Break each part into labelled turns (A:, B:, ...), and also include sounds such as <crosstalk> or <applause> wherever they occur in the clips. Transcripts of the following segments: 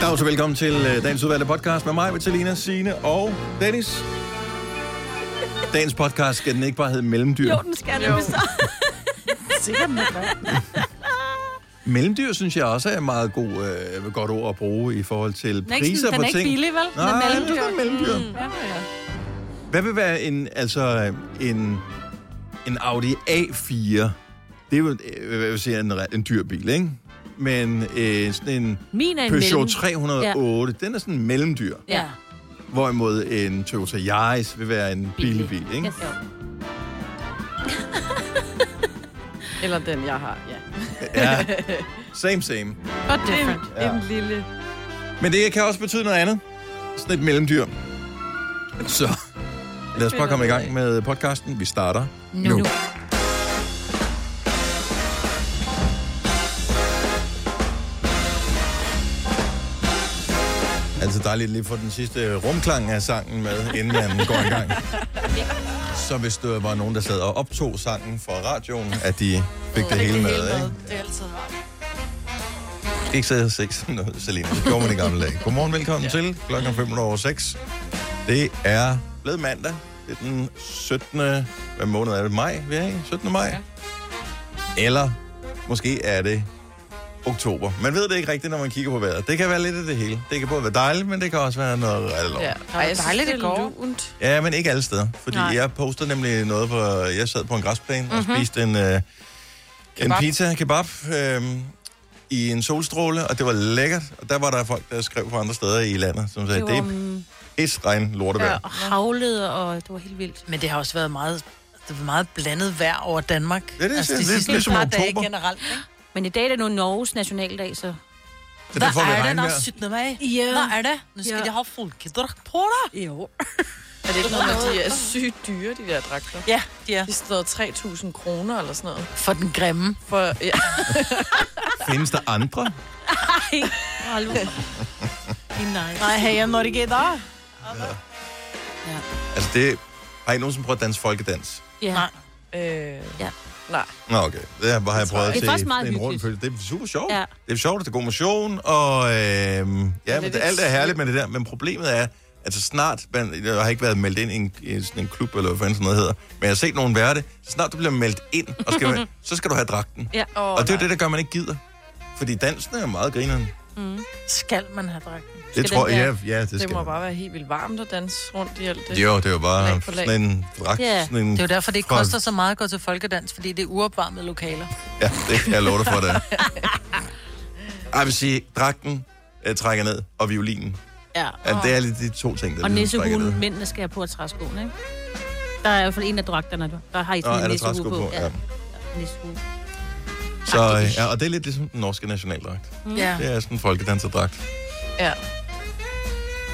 A: Goddag og velkommen til øh, dagens udvalgte podcast med mig, Vitalina, Signe og Dennis. Dagens podcast skal den ikke bare hedde Mellemdyr.
B: Jo, den skal nemlig så.
C: Sikkert med greb.
A: Mellemdyr synes jeg også er et meget god, øh, godt ord at bruge i forhold til
B: Den er ikke,
A: priser
B: sådan, den
A: på
B: er ikke
A: ting.
B: billig, vel? Den
A: Nej,
B: er
A: den er Mm.
B: mellemdyr. Mm.
A: sådan mellemdyr. Hvad vil være en, altså, øh, en, en Audi A4? Det er jo øh, hvad vil jeg sige, en, re- en dyr bil, ikke? Men øh, sådan en
B: Min er en
A: Peugeot
B: mellem.
A: 308, den er sådan en mellemdyr.
B: Ja.
A: Hvorimod en Toyota Yaris vil være en billig bil, ikke?
B: Yes.
C: Eller den, jeg har, ja.
A: Ja. Same, same.
C: Og different.
B: different.
C: En, en lille...
A: Men det kan også betyde noget andet. Sådan et mellemdyr. Så lad os bare komme i gang med podcasten. Vi starter nu. nu. Altså dejligt lige at få den sidste rumklang af sangen med, inden man går i <laughs> gang. Så hvis der var nogen, der sad og optog sangen fra radioen, at de fik det hele med, ikke?
C: Det er altid rart.
A: Ikke sidde og se sådan noget, Selina. Det gjorde man i gamle dage. Godmorgen, velkommen ja. til. Klokken er 5 over 6. Det er blevet mandag. Det er den 17. Hvad måned er det? Maj, vi er i? 17. maj? Ja. Eller måske er det oktober. Man ved det ikke rigtigt, når man kigger på vejret. Det kan være lidt af det hele. Det kan både være dejligt, men det kan også være noget rigtig
C: Ja.
A: ja.
C: Ej, jeg synes,
B: dejligt,
C: det
B: det
C: går.
B: går.
C: Lunt.
A: ja. men ikke alle steder. Fordi
C: Nej.
A: Nej. jeg postede nemlig noget på... Jeg sad på en græsplæne mm-hmm. og
D: Mhm.
A: spiste en, øh, en
C: Kebab.
A: pizza kebab øh, i en solstråle, og det var lækkert. Og der var der folk, der skrev fra andre steder i landet, som sagde, det, er pis regn lortevejr.
B: Ja, og havlede, og det var helt vildt.
D: Men det har også været meget, det var meget blandet vejr over Danmark. Altså,
A: Ja, det er
D: de
A: lidt-
D: sidste
A: lidt som
D: par dage
A: oktober.
D: generelt. Ikke?
B: Men i dag er det nu Norges nationaldag, så...
A: Så
D: Hvad
A: der får vi
D: er det, der
A: regnvejr.
D: er 17. maj?
B: Ja.
D: Hvad er det? Nu skal
B: Ja.
D: de have folkedragt på dig.
B: Jo.
C: Er det ikke noget, med, at de er sygt dyre, de der dragter?
D: Ja, de er.
C: De står 3.000 kroner eller sådan noget.
D: For den grimme.
C: For, ja.
A: Findes der andre?
B: Hold <laughs> nu. Nej.
D: Nej, hej, jeg når det gik der.
A: Altså det... Har I nogensinde prøvet at danse folkedans?
B: Ja.
D: Nej.
C: Øh,
B: Ja.
C: Nej.
A: Nå, okay. Det har, har jeg prøvet at
B: Det er
A: se
B: faktisk meget
A: en rundt
B: hyggeligt.
A: følge. Det er super sjovt.
B: Ja.
A: Det er sjovt, det er god motion, og øh, ja, men det,
C: lidt
A: alt er herligt med det der. Men problemet er, at så snart, man, jeg har ikke været meldt ind i, en, i sådan en klub, eller hvad fanden sådan noget hedder, men jeg har set nogen være det, så snart du bliver meldt ind, og skal, være- så skal du have dragten.
B: Ja.
C: Åh,
A: Og det er jo
C: nej.
A: det, der gør, man ikke gider. Fordi dansen er jo meget grineren.
D: Skal man have dragten?
A: Det
B: den
A: tror jeg,
B: være-
A: ja, ja, det skal
C: Det må
A: man.
C: bare være helt vildt varmt at danse rundt i alt det.
A: Jo, det er jo bare
C: Lag på lag.
A: sådan en dragt.
B: Ja.
A: Sådan en,
D: Det er jo derfor, det ikke
A: for-
D: koster så meget at gå til folkedans, fordi det er uopvarmede lokaler.
A: Ja, det kan jeg love dig for, det er. Ej, Jeg vil sige, dragten øh, trækker ned, og violinen.
B: ja.
A: Ja, det er lidt de to ting, der
B: Og
A: ligesom trækker ned.
B: nissehulen, mændene skal have på og træskoen, ikke? Der er i hvert fald en af dragterne, der har I
A: Nå,
B: sådan
A: er
B: en
A: der
B: nissehue
A: træsko
B: på.
A: på? Ja.
B: Nissehue.
A: Så, øh, ja, og det er lidt ligesom den norske nationaldragt.
D: Ja.
A: Det er sådan en folkedanserdragt.
C: Ja.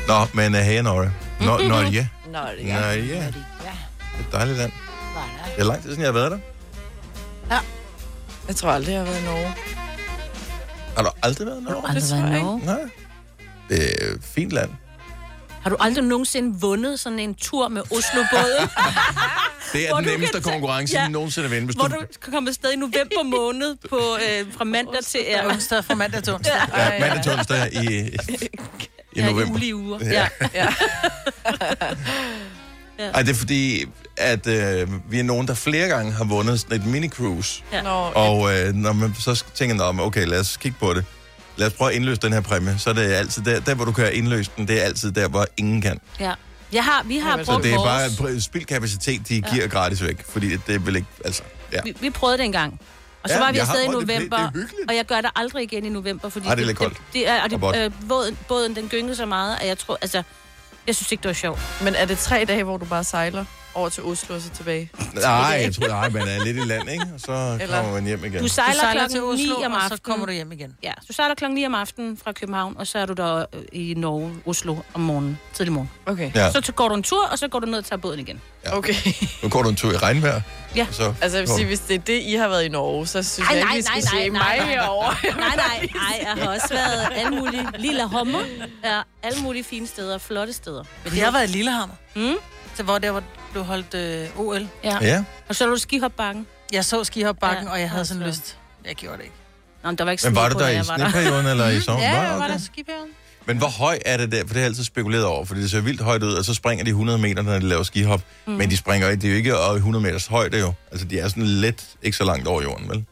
A: Nå, men uh,
B: <laughs>
A: hey, Norge. Nå, Norge.
C: Nå, det er
A: Norge. Det er et dejligt land. Det er lang tid siden, jeg har været der.
C: Jeg tror aldrig, jeg har været i Norge.
A: Har du aldrig været i Norge?
C: Det tror jeg ikke.
A: Nej. Det er et fint land.
B: Har du aldrig nogensinde vundet sådan en tur med
A: <laughs>
B: Oslo-båden?
A: Det er
B: Hvor
A: den
B: du
A: nemmeste
B: kan tage-
A: konkurrence,
B: Ja.
A: ja. nogensinde at vinde. Hvis
B: hvor du kan komme afsted i november måned på, øh, fra mandag til
D: Det er
B: ja,
D: onsdag fra mandag til onsdag.
A: Ja, mandag til onsdag i, i
B: ja, i
A: november.
B: ulige uger. Ja.
A: Ej, det er fordi, at øh, vi er nogen, der flere gange har vundet sådan et mini-cruise.
B: Ja.
C: Nå, og...
A: Og øh, når man så tænker, Nå, men okay, lad os kigge på det. Lad os prøve at indløse den her præmie. Så er det altid der, der hvor du kan indløse den, det er altid der, hvor ingen kan.
B: ja. Jeg har, vi har
C: Jamen,
B: brugt
A: Så det er bare
B: vores...
A: pr- spildkapacitet, de giver gratis væk. Fordi det vil ikke, altså, ja.
B: Vi, vi prøvede det engang. Og så
A: Ja,
B: var vi
A: jeg har
B: afsted i
A: prøvet det. Det-
B: november,
A: det er hyggeligt.
B: og jeg gør det aldrig igen i november, fordi
A: Ej, det er lidt koldt.
B: Det, det er, og
A: Og vådt.
B: det, øh, båden, båden, den gyngede så meget, at jeg tror, altså, jeg synes ikke, det var sjovt.
C: Men er det tre dage, hvor du bare sejler over til Oslo og så tilbage?
A: Nej, jeg tror, nej, man er lidt i land, ikke? Og så
C: Eller-
A: kommer man hjem igen.
B: Du
D: Du
B: sejler,
D: sejler til
B: klokken 9
D: Oslo,
B: om
D: og
B: aftenen.
D: så kommer du hjem igen.
B: Ja, du sejler klokken 9 om aftenen fra København, og så er du der øh, i Norge, Oslo om morgenen, tidlig morgen.
C: Okay.
A: Ja,
B: Så t- går du en tur, og så går du ned og tager båden igen.
C: Okay. <laughs>
A: nu går du en tur i regnvejr.
B: Ja.
A: og Så,
C: Altså, jeg vil sige, hvis det er det, I har været i Norge, så synes
B: Ej,
C: jeg
B: nej,
C: ikke, vi skal
B: nej, nej, nej,
C: sige mig
B: nej. <laughs>
C: herovre.
B: Nej, nej, nej, jeg har også været alle mulige lille hommer. Ja, alle mulige fine steder, flotte steder.
D: Men det har været i Lillehammer. Mm. Så hvor der, hvor du holdt øh, OL.
A: ja.
B: Og så er du skihopbakken.
D: Jeg så skihopbakken,
B: Ja,
D: ja, og jeg havde sådan
B: altså.
D: lyst. Jeg gjorde det ikke.
B: Nå, men der var ikke
A: Men
B: sne
A: var du
B: på,
A: der
B: da
A: i
B: jeg var der.
A: sneperioden, eller i sommer?
D: Ja, jeg
A: okay.
D: var der skibjørn.
A: Men hvor høj er det der? For det har jeg altid spekuleret over, fordi det ser vildt højt ud, og så springer de 100 meter, når de laver skihop. Mm. Men de springer ikke, det er jo ikke over 100 meters højde jo. Altså, de er sådan let, ikke så langt over jorden, vel?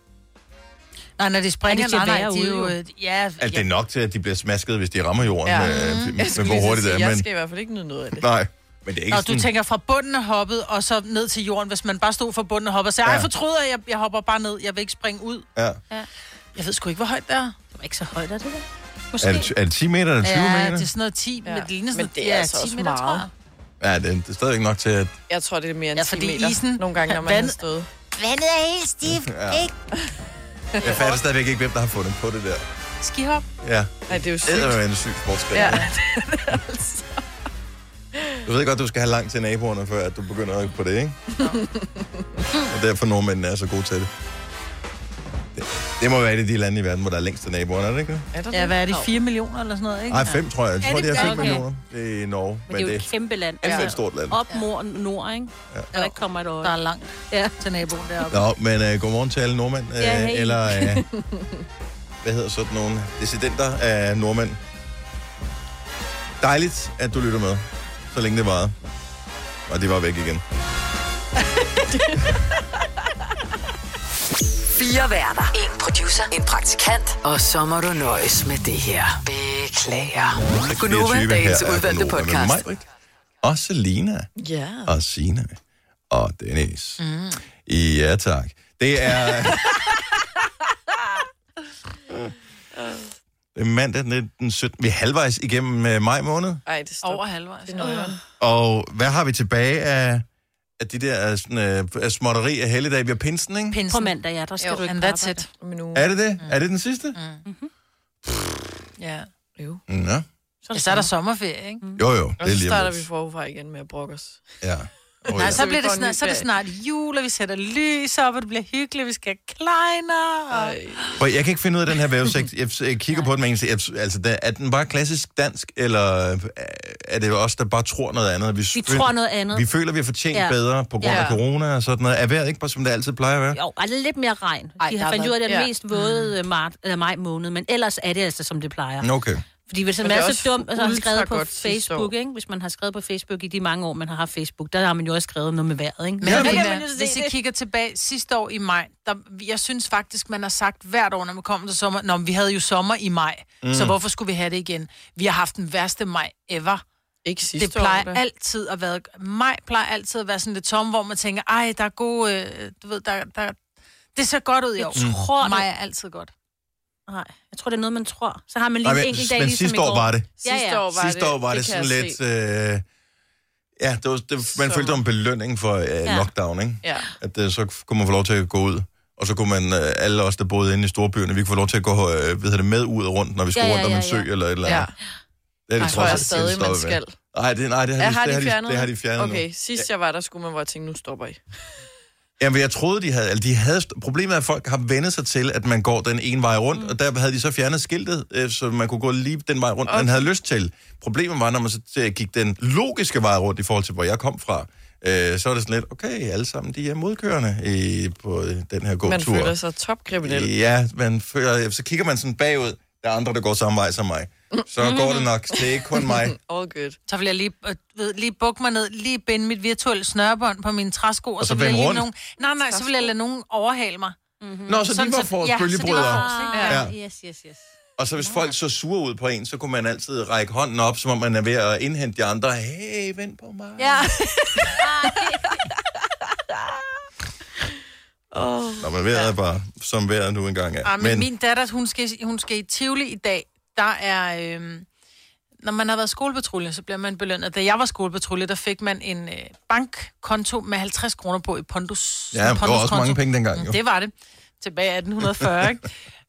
D: Nej, når de springer,
B: Er de til
D: nej,
B: at
D: nej,
B: være
D: de er jo...
B: ude, jo?
D: øh, Ja,
A: Altså, det er
D: ja.
A: nok til, at de bliver smasket, hvis de rammer jorden,
C: Ja.
A: ja. med, med,
C: Jeg
A: med,
C: skulle lige
A: hvor
C: til at
A: hurtigt det
C: sige,
A: er.
C: Jeg
A: Men,
C: skal i hvert fald ikke nyde noget af det.
A: nej, men det er ikke
D: Nå,
A: sådan...
D: du tænker fra bunden af hoppet, og så ned til jorden, hvis man bare stod fra bunden af hoppet og sagde,
A: Ja.
D: ej, fortryder, jeg, jeg hopper bare ned, jeg vil ikke springe ud.
A: ja.
D: Jeg ved sgu ikke, hvor højt det er.
B: Det var ikke så højt, er det der?
A: er,
B: Måske.
A: det, er det 10 meter eller 20
D: ja,
A: meter?
D: det er sådan noget 10, ja.
C: Ja.
D: men det ligner
C: Men
D: sådan
C: det er
D: ja,
C: altså
D: 10
C: også
D: meter, meget. tror
C: meget.
D: jeg.
A: Ja, det, det er stadig nok til, at...
C: Jeg tror, det er mere end
D: Ja,
C: ja,
D: fordi
C: 10 meter.
D: isen-
C: Nogle gange, når man
D: Vand-
C: har stået.
E: Vandet er helt stift,
A: Ja.
E: ikke?
A: Jeg fatter stadigvæk ikke, hvem der har fundet på det der.
D: Skihop.
A: Ja,
C: Nej, det er jo sygt.
A: det er en syg sportsgren.
C: Ja.
A: Ja. Du ved godt, du skal have langt til naboerne, før at du begynder på det, ikke? og derfor nordmændene er så gode til det. det. Det må være et af de lande i verden, hvor der er længst til naboerne, er det ikke det?
C: Er der
D: Ja,
C: det?
D: hvad er det,
C: Nå.
D: 4 millioner eller sådan noget, ikke?
A: Nej, fem tror jeg. Jeg tror, det er fem
B: okay.
A: millioner. Det er i Norge,
B: Men det er jo et
A: det
B: kæmpe land.
A: er
B: Altså,
A: et stort land.
B: Op mod nord, ikke? Ja. Og der kommer et øje.
D: Der er langt
B: Ja.
D: til naboen deroppe.
A: Nå, men øh, godmorgen til alle nordmænd. Øh,
B: Ja, hey.
A: Eller, øh, hvad hedder sådan nogle dissidenter af nordmænd. Dejligt, at du lytter med, så længe det varede. Og det var væk igen.
F: <laughs> Fire værter. En producer. En praktikant. Og så må du nøjes med det her. Beklager. Gunova,
A: 24
F: dagens
A: her er
F: udvalgte
A: Gunova med
F: podcast.
A: Majbrit, Og Selina.
C: Ja.
A: Og Sina. Og Dennis. Mm. Ja, tak. Det er... Det er mandag den- den 17. Vi er halvvejs igennem øh, maj måned.
C: Ej, det står
D: Over halvvejs.
C: Det er noget. andet.
A: Og hvad har vi tilbage af, af de der øh, sådan, øh, af småtteri af helligdag? Vi har pinsen, ikke?
D: Pinsen.
B: På mandag, ja, der skal
D: Jo,
B: du ikke
D: and
B: på
D: that's
B: arbejde.
D: it.
C: Om en uge.
A: Er det det? Mm. Er det den sidste?
D: Ja.
A: Mm. Ja.
D: ja, så er der sommerferie, ikke?
A: Jo, jo. Det
C: Og
A: er
C: så
A: lige
C: starter
A: om
C: vi
A: lidt.
C: forfra igen med at brokke os.
A: Ja. Oh,
D: Nej,
A: ja.
D: så,
C: Så
D: bliver det
C: vi får en
D: snart,
C: ny
D: så er det
C: ferie.
D: snart jul, og vi sætter lys op, og det bliver hyggeligt, vi skal have kleiner. Og...
C: Ej.
A: Prøv, jeg kan ikke finde ud af den her vævesekt. Jeg, jeg kigger på den, men jeg, altså, der, er den bare klassisk dansk, eller øh, er det os, der bare tror noget andet?
B: Vi
A: føl-
B: tror noget andet.
A: Vi føler, vi har fortjent ja.
B: Ja.
A: bedre på grund af
C: Ja.
A: corona og sådan noget. Er vejret ikke bare, som det altid plejer at være?
B: Jo, er det lidt mere regn.
D: Ej,
B: Ej, de
D: der har
B: har fandt ud af, at det er den
C: været-
B: mest våde øh, mart, eller maj måned, men ellers er det altså, som det plejer.
A: Nå, Okay.
B: Fordi hvis man
C: Men det
B: er
C: er
B: så
C: også
B: dum, og så har
C: ultra
B: skrevet på
C: godt sidste
B: Facebook,
C: år.
B: ikke? hvis man har skrevet på Facebook i de mange år, man har haft Facebook, der har man jo også skrevet noget med vejret. Ikke?
D: Men
B: Så
D: ja,
B: kan
D: Rina,
B: man jo se
D: hvis I
B: det.
D: kigger tilbage sidste år i maj, der, jeg synes faktisk, man har sagt hvert år, når man kommer til sommer, Nå, men vi havde jo sommer i maj, mm. så hvorfor skulle vi have det igen? Vi har haft den værste maj ever.
C: Ikke sidste
D: Det plejer
C: år, da.
D: altid at være, maj plejer altid at være sådan lidt tom, hvor man tænker, ej, der er gode, øh, du ved, der, der, det ser godt ud i år.
B: tror,
D: Maj er altid godt.
B: Mm. Nej, jeg tror, det er noget, man tror. Så har man lige
A: Nej,
B: en
A: men,
B: enkelt dag,
A: men
B: ligesom
A: sidste
B: i
A: år
B: går.
A: var det.
B: Ja,
C: Sidste
B: ja.
C: år var
A: Sidste
C: det,
A: år var det,
C: det kan
A: sådan
C: jeg
A: lidt...
C: se.
A: Øh, ja, det var, det, man
C: Så-
A: følte om belønning for øh, ja. lockdown, ikke?
C: Ja.
A: At øh, så kunne man få lov til at gå ud. Og så kunne man, øh, alle os, der boede inde i storbyerne, vi kunne få lov til at gå øh, ved det, med ud og rundt, når vi skulle
B: Ja, ja,
A: rundt om en
B: ja,
A: sø
B: ja.
A: eller et øh, eller andet.
C: ja.
A: Det er
C: Jeg
A: det,
C: tror
A: trods
C: jeg
A: alt
C: stadig, man
A: stoppet med.
C: skal.
A: Nej, det, nej, det har,
C: Ja,
A: de,
C: har
A: det,
C: de
A: har de,
C: fjernet
A: det har de fjernet
C: Okay,
A: nu.
C: sidst jeg var der, skulle man bare tænke, nu stopper I.
A: Jamen, jeg troede, de havde, eller de havde... st- Problemet er, at folk har vendt sig til, at man går den ene vej rundt, mm. og der havde de så fjernet skiltet, øh, så man kunne gå lige den vej rundt, okay. man havde lyst til. Problemet var, når man så øh, gik den logiske vej rundt i forhold til, hvor jeg kom fra, øh, så var det sådan lidt, okay, alle sammen, de er modkørende i, på øh, den her gåtur.
C: Man føler sig topkriminel.
A: Ja, man føler, så kigger man sådan bagud, der er andre, der går samme vej som mig. Så
D: Mm.
A: går det nok, det er ikke kun mig.
C: Mm, All good.
D: Så vil jeg lige, øh, ved, lige bukke mig ned, lige binde mit virtuelle snørebånd på mine træsko, og,
A: Og
D: og
A: så
D: så, vil jeg
A: vende
D: lige
A: rundt?
D: nogen... Nej, nej, så vil jeg lade nogen overhale mig.
A: Nå, så de
D: Mm-hmm. Sådan,
A: var
D: så- ja, så
A: for
D: de var
A: bølgebrydere.
D: forrest, ikke?
A: Ja.
B: Ah, Yes, yes, yes.
A: Og så hvis folk så sure ud på en, så kunne man altid række hånden op, som om man er ved at indhente de andre. Hey, vent på mig. Ja. Nå, men vejret er bare, som vejret nu engang er.
D: Ja,
A: <laughs>
D: men, men min datter, hun skal, hun skal i Tivoli i dag. Der er... Øhm, når man har været skolepatrulje, så bliver man belønnet. Da jeg var skolepatrulje, der fik man en øh, bankkonto med 50 kroner på i Pondus.
A: ja, det var også
D: Ponduskonto.
A: mange penge dengang, jo.
D: Mm, Det var det. Tilbage i 1840, ikke?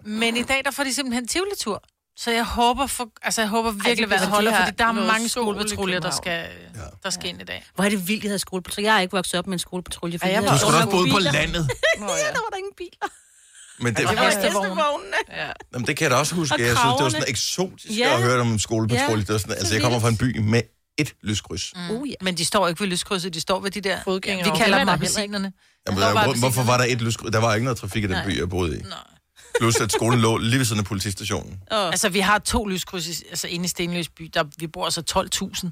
D: Men i dag, der får de simpelthen tivoli-tur. Så jeg håber, for, altså jeg håber virkelig,
C: bliver
D: hvad
C: de
D: holder,
C: her
D: fordi der er
C: noget
D: mange
C: sol i
D: skolepatruljer, der skal,
C: København.
D: der skal ind i dag.
B: Hvor er det vildt, at jeg havde skolepatrulje. Jeg er ikke vokset op med en skolepatrulje. fordi
C: Ej, jeg
B: vi
C: var
A: Du
B: havde
A: skulle
B: så
A: nok boet
B: mange
A: på
B: biler.
A: landet.
C: Nå, ja.
B: Der var der ingen biler.
A: <laughs> Men det,
D: Og hestevogne.
C: ja.
A: jamen, det kan jeg da også huske.
B: Og
A: Jeg synes, det var sådan
B: kraverne.
A: eksotisk
B: Ja.
A: at høre om en skolepatrulje. Det var sådan, altså, jeg kommer fra en by med et lyskryds.
E: Uh,
B: Oh, ja.
D: Men de står ikke ved lyskrydset, de står ved de der...
C: Fodgængere.
D: Vi kalder
B: Det er
D: dem
B: der
D: appelsinerne.
A: Jamen,
D: Der
A: der,
D: var
A: hvor, hvorfor
D: appelsiner.
A: var der et lyskryds? Der var ikke noget trafik i den by, jeg boede i. Plus at skolen lå lige ved siden af politistationen.
D: Oh. Altså, vi har to lyskryds i- altså, inde i Stenløs by. Der, vi bor altså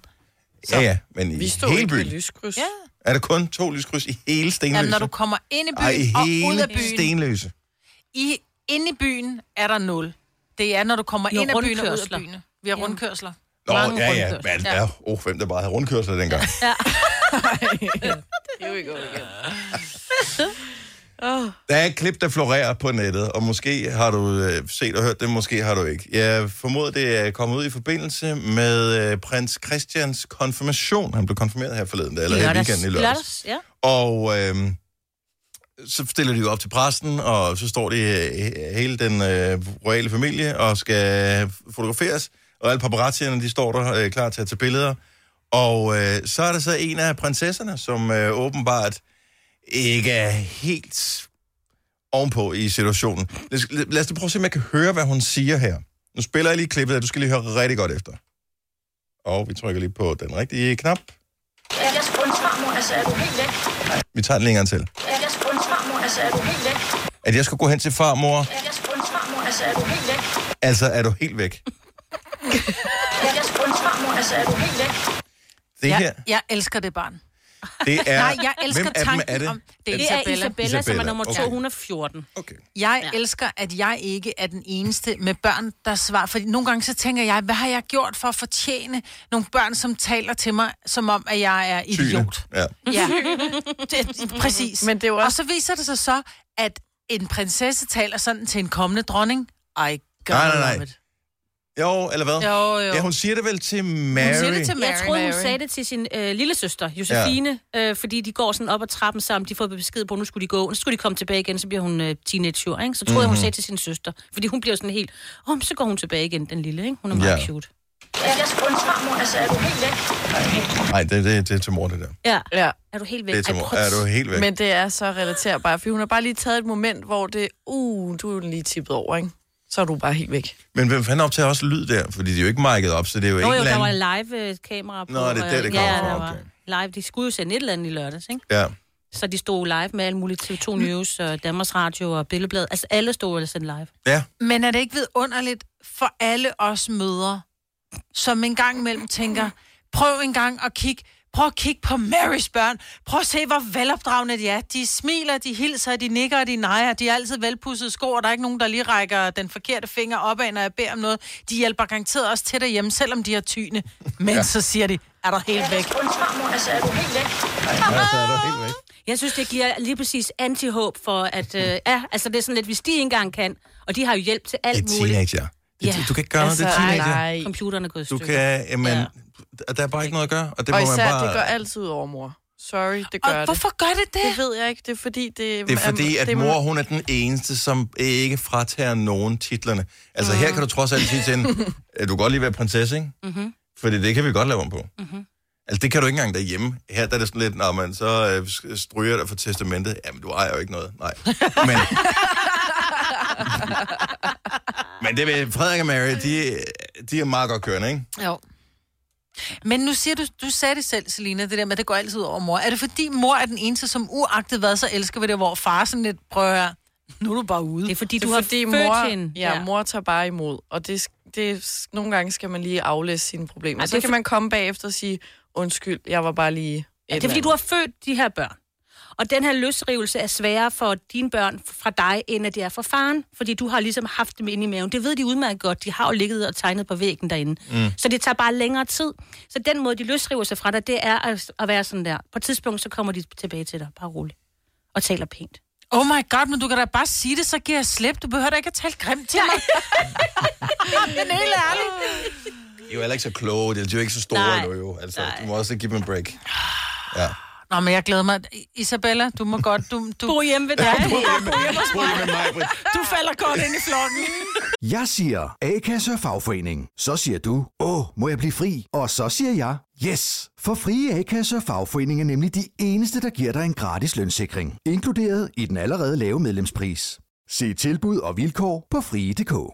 D: 12.000.
A: Ja, ja, men i
C: Vi stod
A: hele
C: ikke ved
A: byen
C: lyskryds.
D: Ja.
A: er der kun to lyskryds i hele Stenløse.
D: Jamen, når du kommer ind i
A: Ej, i
D: byen Ej, og ud
A: hele
D: af byen, sten...
A: Stenløse.
D: i, inde i byen er der nul. Det er, når du kommer
B: Nå,
D: ind af byen og ud af
B: rundkørsler.
D: byen. Vi har rundkørsler.
A: Nå,
B: Mange
A: ja, ja.
B: rundkørsler.
A: Men, ja. Oh, hvem der bare havde rundkørsler dengang.
C: Here we
D: <laughs>
C: go again.
A: Der er et klip, der florerer på nettet, og måske har du øh, set og hørt det, måske har du ikke. Jeg formoder, det er kommet ud i forbindelse med øh, prins Christians konfirmation. Han blev konfirmeret her forleden, dag, eller her i weekenden i lørdags.
B: lørdags. Ja.
A: Og øh, så stiller de jo op til præsten, og så står de øh, hele den øh, royale familie og skal fotograferes. Og alle paparazzierne, de står der øh, klar til at tage billeder. Og øh, så er der så en af prinsesserne, som øh, åbenbart ikke er helt ovenpå i situationen. Lad os, lad os da prøve at se, om jeg kan høre, hvad hun siger her. Nu spiller jeg lige klippet, og du skal lige høre rigtig godt efter. Og vi trykker lige på den rigtige knap.
E: Jeg undskylder, mor, altså er du helt væk?
A: Vi tager den længere til.
E: Jeg undskylder, mor, altså er du helt væk?
A: At jeg skulle gå hen til farmor,
E: Jeg undskylder, mor, altså er du helt væk?
A: altså er du helt væk.
E: Jeg undskylder, mor, altså er du helt væk?
A: Det ja. her,
D: Jeg, jeg elsker det barn.
A: det er...
D: Nej, jeg elsker
A: Hvem af dem
D: tanken
A: er det?
D: om... Det er
B: Det er Isabella,
D: Isabella.
B: Isabella som er
A: Isabella,
B: nummer
A: okay.
B: 214.
A: Okay.
D: Jeg
B: Ja.
D: ja. elsker, at jeg ikke er den eneste med børn, der svarer. Fordi nogle gange så tænker jeg, hvad har jeg gjort for at fortjene nogle børn, som taler til mig, som om, at jeg er
A: Tyne.
D: idiot?
A: Ja.
E: <laughs>
D: Ja, det, præcis.
C: Men det er jo også-
D: Og så viser det sig så, at en prinsesse taler sådan til en kommende dronning. Ej, god
A: Nej, nej, nej.
D: love it.
A: Jo, eller hvad?
D: Jo, jo.
A: Ja, hun siger det vel til Mary.
D: Hun siger det til Mary.
B: Jeg tror, hun
D: Mary.
B: sagde det til sin øh, lille søster, Josefine, ja. øh, fordi de går sådan op ad trappen sammen. De får besked på, at nu skulle de gå. Nu skulle de komme tilbage igen, så bliver hun øh, teenager, ikke? Så tror mm-hmm.
A: Mhm.
B: jeg, hun sagde til sin søster. Fordi hun bliver sådan helt... Åh, oh, så går hun tilbage igen, den lille, ikke? Hun er meget
A: Ja.
B: ja. cute.
E: Jeg undskylder, mor, altså er du helt væk?
A: Nej, det, det, det er til mor, det der.
B: Ja.
C: Ja.
B: Er du helt væk?
A: Det er til
B: Ej,
A: mor.
B: prøv at-
A: Er du helt væk? Men...
C: Men det er så relaterbart, for hun har bare lige taget et moment, hvor det, uh, du er den lige tippet over, ikke? Så er du bare helt væk.
A: Men hvem fanden optager også lyd der? Fordi de er jo ikke markedet op, så det er
B: Nå
A: jo, ikke
B: jo, der
A: eller
B: var
A: anden...
B: live-kamera på.
A: Nå, det er
B: og-
A: der, det
B: ja,
A: kommer fra,
B: der var
A: okay.
B: live. De skulle jo sende et eller andet i lørdags, ikke?
A: Ja.
B: Så de stod live med alle mulige TV2
A: Mm.
B: News, og Danmarks Radio og Billedblad. Altså, alle stod og sendte live.
A: ja,
D: Men er det ikke vidunderligt for alle os mødre, som en gang imellem tænker, prøv en gang at kigge, prøv at kigge på Marys børn, prøv at se, hvor velopdragende de er. De smiler, de hilser, de nikker, og de nejer, de har altid velpudsede sko, og der er ikke nogen, der lige rækker den forkerte finger opad, når jeg beder om noget. De hjælper garanteret også til derhjemme, selvom de har tyne. Men ja. så siger de, er der helt væk.
E: Undskylder, mor, altså er du helt væk?
A: altså er du helt væk.
B: Jeg synes, det giver lige præcis antihåb for, at... Øh, ja, altså, det er sådan lidt, hvis de ikke engang kan, og de har jo hjælp til alt
A: Det er
B: muligt.
A: teenager. Det,
B: Ja.
A: ja. Du kan ikke gøre noget, det er
C: nej,
A: teenager.
C: nej.
B: Computerne er gået i
A: Du
B: stykker.
A: kan, jamen,
B: Ja.
A: ja. der er bare ikke noget at gøre, og det må
C: Og
A: man
C: især,
A: bare...
C: det går altid ud over mor. Sorry, det gør
D: Og
C: det.
D: hvorfor gør det det?
C: Det ved jeg ikke, det er fordi, det...
A: Det er fordi, at
C: det
A: mor, hun er den eneste, som ikke fratager nogen titlerne. Altså, her kan du trods alt sige til hende, "Øh, du kan godt lige være prinsesse, ikke? Mm-hmm. Fordi det kan vi godt lave om på. Mm-hmm. Altså, det kan du ikke engang derhjemme. Her der er det sådan lidt, når man så øh, sk- stryger dig for testamentet. Jamen, du ejer jo ikke noget. Nej. Men, Men det ved Frederik og Mary, de, de er meget godt kørende, ikke?
D: Jo. Men nu siger du, du sagde det selv, Selina, det der med, at det går altid ud over mor. Er det fordi mor er den eneste, som uagtet hvad, så elsker ved det, hvor far sådan lidt prøver, nu er du bare ude.
B: Det er fordi,
C: det
B: du
C: er
B: har
C: fordi,
B: født
C: mor,
B: hende.
C: ja, mor tager bare imod, og det, sk- det, sk- nogle gange skal man lige aflæse sine problemer.
B: Ej,
C: Ej,
B: det er
C: så kan
B: Altså, for-
C: man komme bagefter og sige, undskyld, jeg var bare lige... et
B: Det er
C: eller
B: fordi, du har født de her børn. Og den her løsrivelse er sværere for dine børn fra dig, end at det er for faren. Fordi du har ligesom haft dem inde i maven. Det ved de udmærket godt. De har jo ligget og tegnet på væggen derinde. Mm. Så det tager bare længere tid. Så den måde, de løsriver sig fra dig, det er at, at være sådan der. På et tidspunkt, så kommer de tilbage til dig. Bare roligt. Og taler pænt.
D: Oh my god, men du kan da bare sige det, så giver jeg slip. Du behøver da ikke at tale grimt til mig. det er helt ærligt.
A: De er jo heller ikke så kloge, de er jo ikke så store
B: Nej.
A: endnu, jo. Altså, du må også give dem en break. Ja.
D: Nå, men jeg glæder mig. Isabella, du må godt. Du,
B: Bo
D: du,
B: hjemme ved dig.
A: Prøv lige med mig, Britt.
D: du falder godt ind i flokken.
G: Jeg siger A-kasse og fagforening. Så siger du, åh, må jeg blive fri? Og så siger jeg, yes! For frie A-kasse og fagforening er nemlig de eneste, der giver dig en gratis lønssikring. Inkluderet i den allerede lave medlemspris. Se tilbud og vilkår på frie.dk.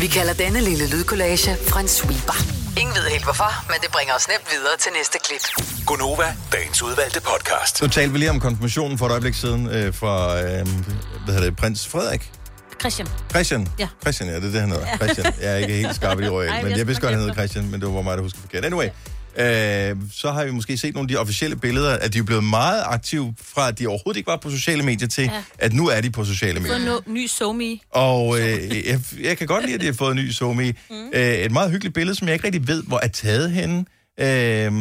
F: Vi kalder denne lille lydkollage en sweeper. Ingen ved helt hvorfor, men det bringer os nemt videre til næste klip.
A: Gunova, dagens udvalgte podcast. Nu talte vi lige om konfirmationen for et øjeblik siden øh, fra, øh, hvad hedder det, prins Frederik?
B: Christian.
A: Christian?
B: Ja.
A: Christian, ja, det er det, han hedder.
B: Ja.
A: Christian. Jeg er ikke helt skarp i de
B: <laughs>
A: ord,
B: Ej,
A: men
B: jeg
A: jeg vidste godt, han
B: forglemte.
A: hedder Christian, men det var mig, der husker forkert. Anyway, øh, så har vi måske set nogle af de officielle billeder, at de er blevet meget aktive fra, at de overhovedet ikke var på sociale medier, til
B: Ja.
A: ja. at nu er de på sociale medier.
B: Fået no- ny somi.
A: Og øh, jeg, jeg kan godt lide, at de har fået en ny somi. Mm. Øh, et meget hyggeligt billede, som jeg ikke rigtig ved, hvor er taget henne. Øh,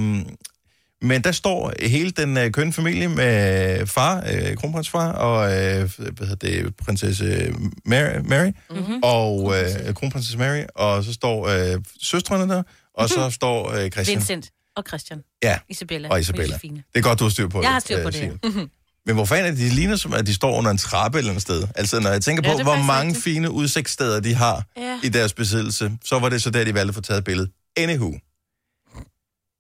A: men der står hele den øh, kønne familie med far, øh, kronprinsfar, og øh, hvad hedder det, prinsesse Mary, Mary
H: Mhm.
A: mm-hmm. og øh, kronprinsesse Mary, og så står øh, søstrene der, og så står øh, Christian.
B: Vincent og Christian.
A: Ja,
B: Isabella.
A: og Isabella.
B: Josefine.
A: Det er godt, du har styr på det.
B: Jeg har styr på
A: øh,
B: det,
A: Signe.
B: ja. Mhm.
A: Men hvor fanden er det, de ligner som, at de står under en trappe et eller andet sted? Altså, når jeg tænker
B: Ja,
A: ja,
B: det
A: på,
B: er
A: hvor
B: faktisk
A: mange
B: rigtigt.
A: fine udsigtssteder de har
B: Ja.
A: ja. i deres besiddelse, så var det så der, de valgte at få taget et billede. Anywho,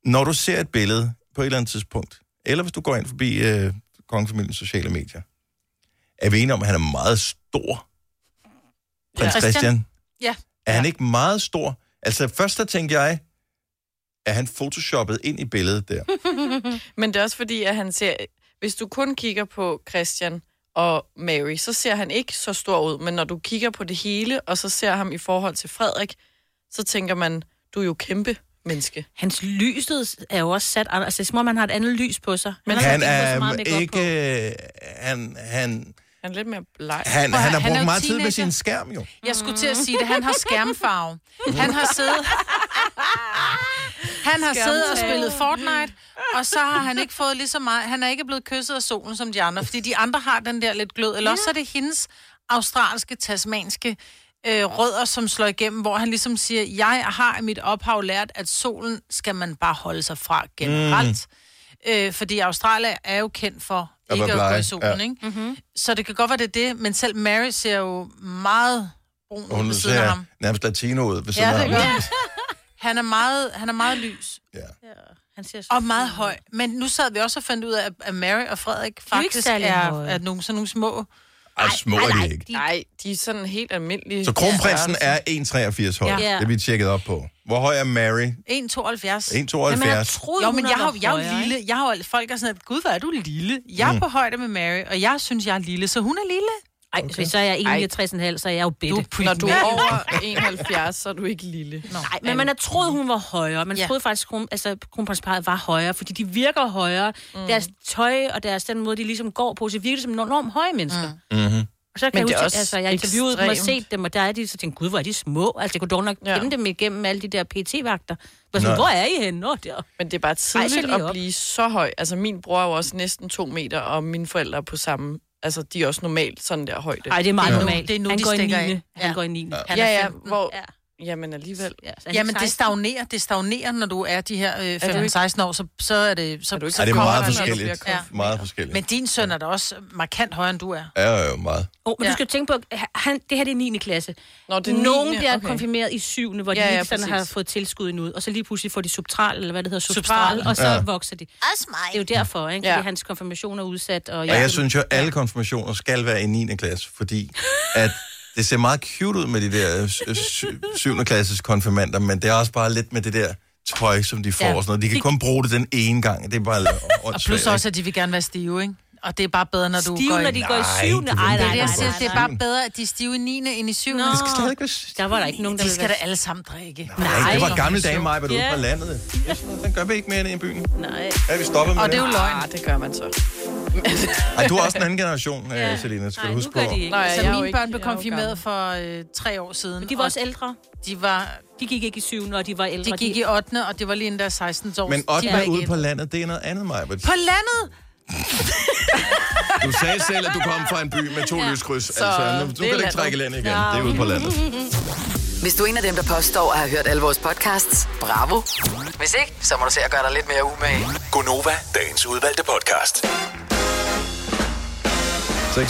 A: når du ser et billede på et eller andet tidspunkt, eller hvis du går ind forbi øh, kongefamiliens sociale medier, er vi enige om, at han er meget stor? Prins ja. Christian?
D: Ja.
A: Er han ikke meget stor? Altså, først der tænkte jeg, er han photoshoppet ind i billedet der?
C: Men det er også fordi, at han ser... Hvis du kun kigger på Christian og Mary, så ser han ikke så stor ud. Men når du kigger på det hele, og så ser ham i forhold til Frederik, så tænker man, du er jo kæmpe menneske.
B: Hans lyset er jo også sat... Altså, det er som om, han har et andet lys på sig.
A: Men
B: har
A: han
B: ikke fået så
A: er
B: meget makeup på.
A: ikke... Han, han,
C: Han er lidt mere bleg.
A: han, han har
D: han er
A: brugt
D: jo
A: meget tid med
D: teenager.
A: sin skærm, jo.
D: Jeg skulle til at sige det. Han har skærmfarve. Han har siddet... Han har siddet og
B: Skærmtale.
D: spillet Fortnite, og så har han ikke fået lige så meget... Han er ikke blevet kysset af solen som de andre, fordi de andre har den der lidt glød. Eller også er det hendes australske, tasmanske øh, rødder, som slår igennem, hvor han ligesom siger, jeg har i mit ophav lært, at solen skal man bare holde sig fra generelt. Mm. Øh, fordi Australien er jo kendt for
A: At
D: ikke
A: være
D: at gå i
A: blege,
D: solen,
A: ja.
D: ikke? Mm-hmm. Så det kan godt være, det er det, men selv Mary ser jo meget brun
A: Og
D: ud
A: hun
D: ved siden af
A: ser
D: ham.
A: nærmest latino ud ved siden
D: Ja,
A: af
D: det gør
A: ham.
D: han. Han er meget, han er meget lys.
A: Ja.
B: Han ser
D: og meget høj. Men nu sad vi også og fandt ud af, at- at Mary og Frederik faktisk
B: særlig
D: er,
B: høje.
D: er nogle, sådan nogle små.
A: Ej, små er de ikke.
C: Nej, de er sådan helt almindelige.
A: Så kronprinsen er 1,83 høj.
D: Ja.
A: Det har vi tjekket op på. Hvor høj er Mary?
D: 1,72.
A: 1,72.
D: Jamen, jeg troede, jo, men
B: hun
D: jeg,
B: var
D: har, jo- jeg er jo
B: højere,
D: lille. Jeg har jo alt- folk er sådan, at gud, hvor er du lille. Jeg er
A: Mm.
D: på højde med Mary, og jeg synes, jeg er lille, så hun er lille.
B: Ej, okay. så er jeg
D: Ej.
B: 61,5, så er jeg jo bitte.
D: Du
C: Når du er over 71, så er du ikke lille. Nå.
B: Nej, men man har troet, hun var højere. Man ja. troede faktisk, kron, altså, kronprinsparet var højere, fordi de virker højere. Mm. Deres tøj og deres den måde, de ligesom går på, så virker de som enormt høje mennesker. Mm.
A: Mm-hmm.
B: Og så kan
C: Men
B: jeg
C: det er
B: huske,
C: også
B: altså, jeg interviewede dem og
C: ekstremt.
B: set dem, og der er de, så tænkte, gud, hvor er de små. Altså, jeg kunne dog nok ja. kende dem igennem alle de der PT-vagter. Hvor, sådan,
C: Nå.
B: hvor er I henne? Nå, der.
C: Men det er bare
B: Rejser
C: tidligt
B: lige
C: at
B: op.
C: blive så høj. Altså, min bror er jo også næsten to meter, og mine forældre er på samme... Altså, de er også normalt sådan der højde.
B: Ej, det er meget
C: Ja.
B: normalt. Det er nu, Han de går i stikker af. 9.. Han Ja. går i 9..
C: Ja,
B: Han
D: er
C: ja,
D: 15.
C: hvor... Jamen alligevel. Ja,
D: Jamen, det stagnerer, det stagnerer, når du er de her øh,
C: ikke-
D: 15-16 år, så, så er det... Så, er
A: Ej, det er meget forskelligt. Meget forskelligt.
D: Men din søn er da også markant højere, end du er.
A: Ja, jo, meget.
B: Oh, men ja. du skal tænke på, at han, det her det er 9. klasse.
C: Nå, det er
B: Nogen
C: 9.,
B: bliver
C: okay.
B: konfirmeret i 7. hvor de
C: Ja,
B: ja,
C: ja,
B: ja, ikke sådan har
C: præcis.
B: fået tilskud endnu. Og så lige pludselig får de subtral, eller hvad det hedder, substral,
C: Substral.
B: og så
A: Ja.
B: ja. vokser de. Det er jo derfor, ikke? Fordi hans konfirmation er udsat. Og,
A: Og jeg synes jo, at alle konfirmationer skal være i 9. klasse, fordi at det ser meget cute ud med de der øh, 7. klasses konfirmander, men det er også bare lidt med det der tøj, som de får.
D: Ja.
A: Ja. Og sådan noget. De kan kun bruge det den ene gang. Det er bare
D: Og
A: åndssvagt,
D: plus
A: ikke?
D: også, at de vil gerne være stive, ikke? Og det er bare bedre, når du
B: Stive,
D: går
B: når de går i Nej, syvende. det vil Ej,
D: det,
B: nej,
D: er det, jeg
B: nej,
D: siger,
B: nej,
D: det er
B: nej.
D: bare bedre, at de er stive i 9. end i 7.
B: Det skal stadig ikke Der var der ikke nogen, der
D: De
B: ville
D: skal da
B: være-
D: alle sammen drikke.
A: Nej, det var gamle dage, Maja, hvor du
D: Ja.
A: ude på landet. Den gør vi ikke mere end i byen.
B: Nej.
A: Ja, vi stopper med
C: Og det er jo
A: det.
C: løgn. Ah, det gør man så.
A: Ej, du er også en anden generation, ja. Selina, skal du huske på.
D: Nej, så
C: jeg er jo
D: mine
C: ikke-
D: børn blev
C: jeg er jo
D: konfirmeret for øh, tre år siden. Men
B: de var også ældre.
D: De var...
B: De gik ikke i 7. og de var ældre.
D: De gik i 8. og det var lige endda 16 år.
A: Men
D: de var
A: otte
D: ikke
A: ude på
D: ældre.
A: landet, det er noget andet, Maja.
D: På landet!
A: Du sagde selv, at du kom fra en by med to ja. lyskryds. Altså, nu, nu kan du ikke trække land igen. Det er ude på landet.
F: Hvis du er en af dem, der påstår at have hørt alle vores podcasts, bravo. Hvis ikke, så må du se at gøre dig lidt mere umage.
I: Gonova, dagens udvalgte podcast.
A: 6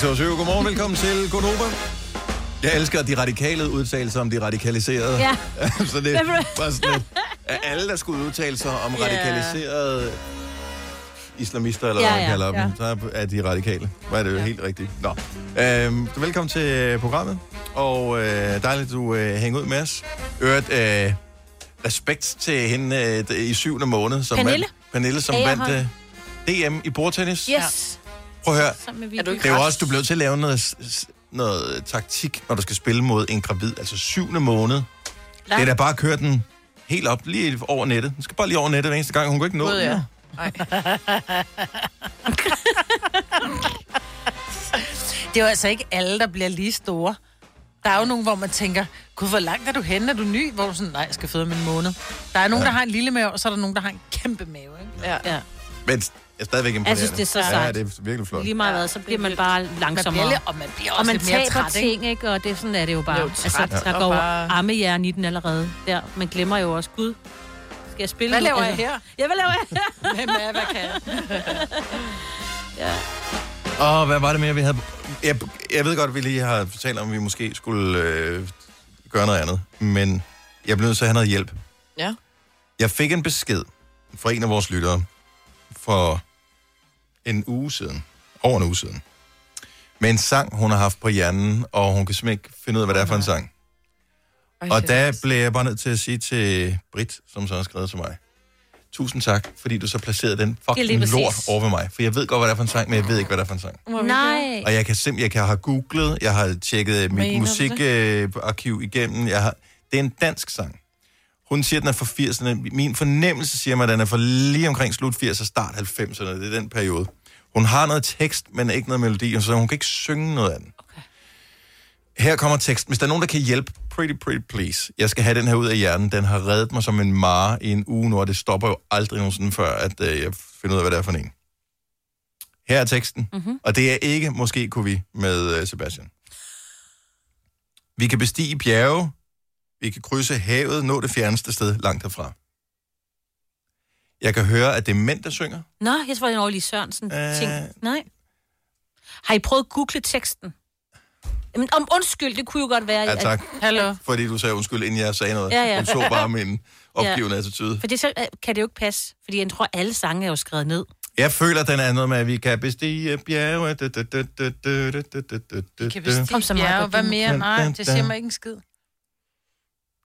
A: og 7. Godmorgen, velkommen til Konoba. Jeg elsker de radikale udtalelser om de radikaliserede.
B: Ja.
A: <laughs> så det var sådan lidt, at alle, der skulle udtale sig om
B: Ja.
A: radikaliserede islamister, eller
B: Ja,
A: ja, hvad man
B: ja,
A: kalder
B: ja.
A: dem, så er de radikale. Hvor er det jo helt rigtigt. Nå. Øhm, så velkommen til programmet, og øh, dejligt, at du øh, hænger ud med os. Øret, øh, respekt til hende øh, i syvende måned. Som
B: Pernille.
A: Vandt, Pernille, som
B: Agerholm.
A: vandt øh, DM i bordtennis.
B: Yes.
A: Prøv at høre,
B: Sammen med Vicky.
A: det er jo også, du bliver nødt til at lave noget, s- s- noget øh, taktik, når du skal spille mod en gravid, altså syvende måned. Det er da bare at køre den helt op, lige over nettet. Den skal bare lige over nettet hver eneste gang. Hun kan ikke nå
C: Gud,
A: den.
C: ja.
A: Ja.
C: Nej.
D: Det er jo altså ikke alle, der bliver lige store. Der er jo nogen, hvor man tænker, gud, hvor langt er du henne? Er du ny? Hvor du sådan, nej, jeg skal føde om en måned. Der er nogen,
A: Ja.
D: ja. der har en lille mave, og så er der nogen, der har en kæmpe mave. Ikke?
C: Ja.
D: ja.
A: Men jeg er stadigvæk imponerende.
B: Jeg synes, det er så
A: Ja,
B: sejt.
A: det er virkelig flot.
B: Lige meget hvad, så bliver man bare langsommere.
D: Man bliver- og man bliver
B: og
D: også
B: man
D: lidt mere
B: taber
D: træt, ikke?
B: ting, ikke? Og det, sådan er det jo bare.
D: Jo, træt
B: altså, der
D: og
B: går
D: bare-
B: bare... armejern i den allerede. Der. Man glemmer jo også, gud, skal jeg spille
D: Hvad
B: nu?
D: laver jeg
B: Altså,
D: her?
B: Ja, hvad laver jeg
D: <laughs>
B: her?
D: Hvem er, hvad kan jeg?
A: Og hvad var det mere, vi havde? Jeg, jeg ved godt, at vi lige har fortalt om, at vi måske skulle øh, gøre noget andet. Men jeg blev nødt til at have noget hjælp.
C: Ja.
A: Jeg fik en besked fra en af vores lyttere for en uge siden, over en uge siden, med en sang, hun har haft på hjernen, og hun kan simpelthen ikke finde ud af, hvad det er for en sang. Og der blev jeg bare nødt til at sige til Britt, som så har skrevet til mig, tusind tak, fordi du så placerede den
B: Det er lige
A: fucking
B: præcis.
A: lort over ved mig. For jeg ved godt, hvad det er for en sang, men jeg ved ikke, hvad det er for en sang.
B: Nej.
A: Og jeg kan simpelthen, jeg kan have googlet, jeg har tjekket mit
B: Mener du
A: musikarkiv øh, igennem. Jeg har, det er en dansk sang. Hun siger, at den er fra 80'erne. Min fornemmelse siger mig, at den er fra lige omkring slut 80'erne, start 90'erne. Det er den periode. Hun har noget tekst, men ikke noget melodi, så hun kan ikke synge noget af den. Okay. Her kommer teksten. Hvis der er nogen, der kan hjælpe, pretty, pretty please. Jeg skal have den her ud af hjernen. Den har reddet mig som en mare i en uge nu, og det stopper jo aldrig nogensinde før, at øh, jeg finder ud af, hvad det er for en. Her er teksten,
B: Mhm.
A: mm-hmm. og det er ikke Måske kunne vi med øh, Sebastian. Vi kan bestige bjerge, vi kan krydse havet, nå det fjerneste sted langt herfra. Jeg kan høre, at det er mænd, der synger.
B: Nå, jeg tror, det er en Orli Sørensen
A: Øh.
B: ting. Nej. Har I prøvet at google teksten? Jamen, om undskyld, det kunne jo godt være.
A: Ja,
B: at-
A: tak.
B: Hallo.
A: Fordi du sagde undskyld, inden jeg sagde noget.
B: Ja, ja.
A: Hun så bare min opgivende ja. attitude.
B: For det så øh, kan det jo ikke passe, fordi jeg tror, alle sange er jo skrevet ned.
A: Jeg føler, den er noget med, at vi kan bestige bjerge. Du, du, du, du, du, du, du, du, du, du.
D: Kan bestige
B: så meget,
D: bjerge.
B: Britt,
D: Hvad
B: du må-
D: mere? Nej, det siger mig ikke en skid.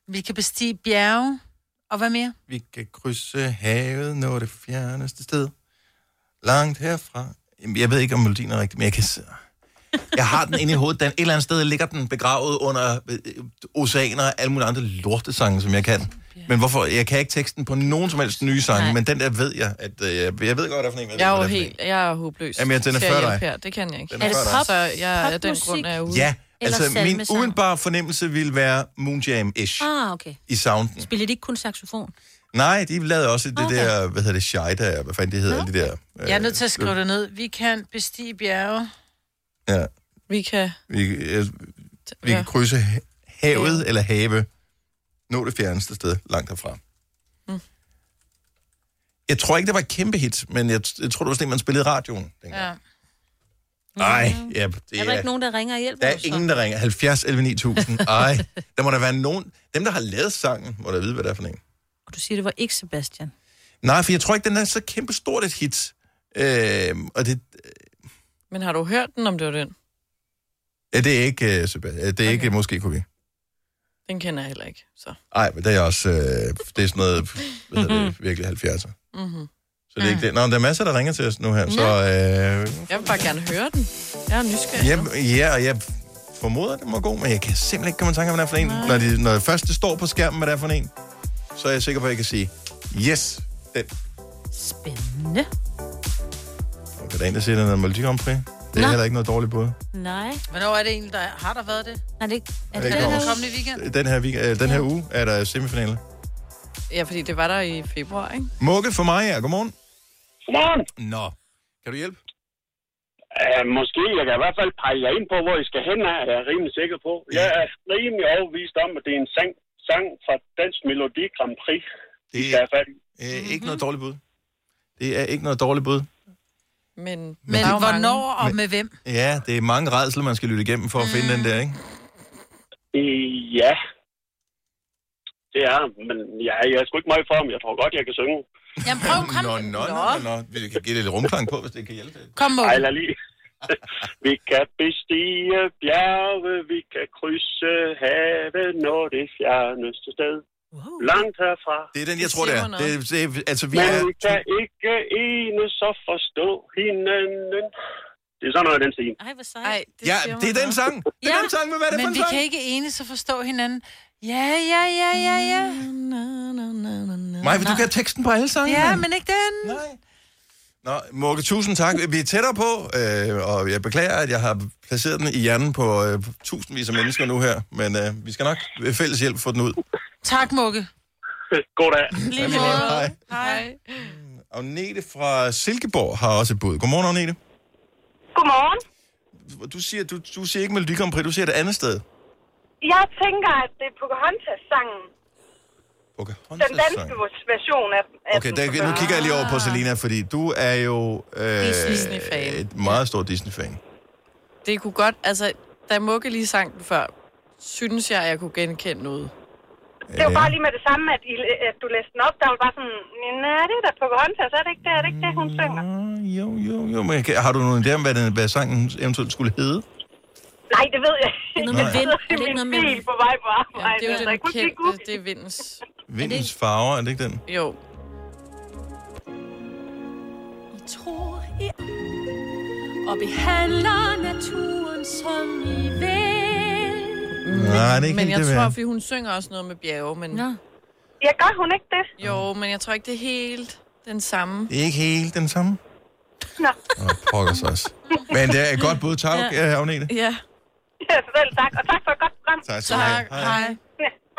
D: Vi kan bestige bjerge. Og hvad mere?
A: Vi kan krydse havet, nå det fjerneste sted. Langt herfra. Jamen, Jeg ved ikke, om melodien er rigtig, men jeg kan... s- Jeg har den inde i hovedet. Den et eller andet sted ligger den begravet under øh, oceaner og alle mulige andre lortesange, som jeg kan. Men hvorfor? Jeg kan ikke teksten på nogen som helst nye sange, men den der ved jeg, at øh, jeg, jeg ved godt, hvad for en,
C: Jeg er jo
A: hvad det for en.
C: helt, jeg er håbløs.
A: Jamen, jeg- den er
C: Til at
A: før
C: hjælpe
A: dig.
C: Her. Det kan jeg ikke.
A: Den er Er det før dig. pop-
C: Så jeg af den grund er jeg ude.
A: Ja, altså min udenbare fornemmelse ville være Moon Jam-ish
B: Ah, okay.
A: i sounden.
B: Spiller de ikke kun saxofon?
A: Nej, de lavede også det der, hvad hedder det, Shida, hvad fanden det hedder, det der. øh,
D: Jeg er nødt til at skrive det ned. Vi kan bestige bjerge.
A: Ja.
C: Vi kan...
A: Vi, øh, vi
D: Ja.
A: kan krydse ha- havet eller have. Nå det fjerneste sted langt herfra.
C: Mm.
A: Jeg tror ikke, det var et kæmpe hit, men jeg, jeg tror, det var sådan en, man spillede i radioen.
D: Ja.
A: Nej, ja, det
B: Er der ikke nogen, altså? der ringer og hjælper
A: Der er
B: os?
A: ingen, der ringer. 70 11 9000. Ej, der må der være nogen. Dem, der har lavet sangen, må da vide, hvad det er for en.
B: Og du siger, det var ikke Sebastian.
A: Nej, for jeg tror ikke, den er så kæmpe stort et hit. Øh, og det,
C: Men har du hørt den, om det var den?
A: ja, det er ikke, øh, Sebastian. Det er okay. ikke, måske kunne vi.
C: Den kender jeg heller ikke. Så.
D: Mhm.
A: Nej, men det er også, øh, det er sådan noget, hvad hedder det, virkelig 70'er.
C: Mm-hmm.
A: Så det er ikke det. Nå, der er masser, der ringer til os nu her. Så, øh,
C: Jeg vil bare gerne høre den. Jeg er nysgerrig.
A: Ja, ja, og jeg formoder, det må gå, men jeg kan simpelthen ikke komme i tanke om, hvad det er for en. Når, de, når det første står på skærmen, hvad det er for en, så er jeg sikker på, at jeg kan sige, yes, den.
B: Spændende.
A: Og der er en, der siger, den er Melodi Grand Prix. Det er
D: Nå.
A: heller ikke noget dårligt bud.
B: Nej.
D: Hvornår er det egentlig, der er? har der været det?
B: Er det ikke?
D: Er det,
A: Det
D: det den
A: kommer-
D: her kommende weekend?
A: Den her, week- øh, den her uge er der semifinale.
C: Ja, fordi det var der i februar, ikke?
A: Mugge for mig her. Godmorgen.
H: Godmorgen.
A: Nå. Kan du hjælpe?
H: Uh, måske. Jeg kan i hvert fald pege jer ind på, hvor I skal hen af, er jeg rimelig sikker på. Jeg er rimelig overbevist om, at det er en sang, sang fra Dansk Melodi Grand Prix.
A: Det
H: er fat i.
A: Øh, ikke noget dårligt bud. Det er ikke noget dårligt bud.
C: Men, men,
D: men hvornår og med hvem?
A: Ja, det er mange redsler, man skal lytte igennem for at finde den der, ikke?
D: Mm.
H: Øh, ja. Det er, men jeg, jeg er sgu ikke meget for ham. Jeg tror godt, jeg kan synge.
D: Jamen, prøv, kom.
A: Nå, nå, nå, nå. Vi kan give det lidt rumklang på, hvis det kan hjælpe.
D: Kom, Morten.
H: Ej, lad
J: <laughs>
H: lige. vi kan bestige bjerge, vi kan krydse have, når det fjerneste sted. Wow. Langt herfra.
A: Det er den, jeg tror, det er. Det, er- det, er- altså, vi
H: Men
A: er...
H: vi kan ikke ene så forstå hinanden. Det er sådan noget, den siger. <laughs>
B: Ej, hvor sejt.
D: Ej,
A: Ja, det er den sang. Det er den sang, men hvad er det
D: men
A: for en
D: vi
A: sang?
D: kan ikke enes og forstå hinanden. Ja, ja, ja, ja, ja.
A: Maja, vil du kan have teksten på alle sange.
D: Ja,
A: mand?
D: men ikke den.
A: Nej. Nå, Mugge, tusind tak. Vi er tættere på, øh, og jeg beklager, at jeg har placeret den i hjernen på øh, tusindvis af mennesker nu her, men øh, vi skal nok ved fælles hjælp få den ud.
D: Tak, Mugge.
H: God dag.
D: Lige
A: måde. Hej.
D: Hej.
A: Agnete fra Silkeborg har også et bud. Godmorgen, Agnete.
K: Godmorgen.
A: Du siger, du, du siger ikke Melodi Grand Prix, du siger et andet sted.
K: Jeg tænker, at det er Pocahontas-sangen. Den danske version af, af
A: Okay, der, nu kigger jeg lige over på Selina, fordi du er jo øh,
C: Disney-fan.
A: et meget stor Disney-fan.
C: Det kunne godt, altså, da Mugge lige sang den før, synes jeg, at jeg kunne genkende noget.
K: Det var bare lige med det samme, at, I, at du læste den op. Der var bare sådan, nej, det er da Pocahontas, er det ikke det? Er det ikke det, hun synger?
A: Ah, Jo, jo, jo, men jeg kan- har du nogen idé om, hvad, den, hvad sangen eventuelt skulle hedde?
K: Nej, det ved jeg
B: Det er
K: ikke.
A: noget med
K: Jeg
A: vind.
K: sidder i min bil på vej på arbejde.
C: det er jo
K: så
C: den
K: jeg kunne ikke
C: kendte, det er vindens.
A: Vindens farver, er det ikke den?
C: Jo.
L: I tror i og behandler naturen som I vil.
A: Nej, det er ikke
C: men
A: helt
C: jeg
A: det,
C: tror,
A: vel?
C: fordi hun synger også noget med bjerge, men...
K: Nå. Ja, gør hun ikke det?
C: Jo, men jeg tror ikke, det er helt den samme.
A: Det er ikke helt den samme.
K: Nå.
A: Åh, pokker så også. Men det er et godt bud, tak, ja. Agnete.
C: Ja.
K: Ja, selv tak. Og tak for et godt program.
A: Tak skal du have. Tak. Hej.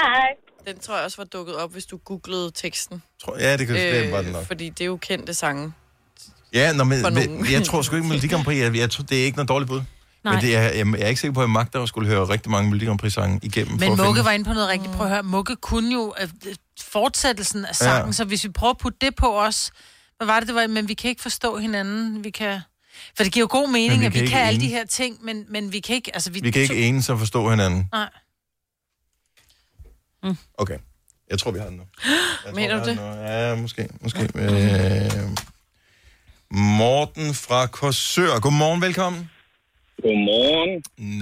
K: Hej.
C: Den tror jeg også var dukket op, hvis du googlede teksten.
A: Tror, ja, det kan-
C: Øh,
A: det var den nok.
C: Fordi det er jo kendte sange.
A: Ja, nå, men,
C: For
A: men,
C: nogen.
A: jeg tror sgu ikke, Melodi Grand Prix, jeg, jeg tror, det er ikke noget dårligt bud. Nej.
D: Nej.
A: Men det er, jeg, jeg er ikke sikker på, at jeg magter at skulle høre rigtig mange Melodi Grand Prix-sange igennem. for
D: Men
A: at
D: Mugge
A: finde-
D: var inde på noget rigtigt. Prøv at høre, Mugge kunne jo øh, fortsættelsen af sangen,
A: Ja.
D: ja. så hvis vi prøver at putte det på os, hvad var det, det var, men vi kan ikke forstå hinanden, vi kan... For det giver jo god mening,
A: vi
D: vi at vi
A: kan ikke
D: kan alle de
A: enes.
D: her ting, men, men vi kan ikke... Altså, vi,
A: Vi kan ikke enes og forstå hinanden. Mm.
D: Nej.
A: Okay, jeg tror, vi har den nu.
C: Mener du det?
A: Ja, måske. måske. Øh, Morten fra Korsør. Godmorgen, velkommen.
M: Godmorgen.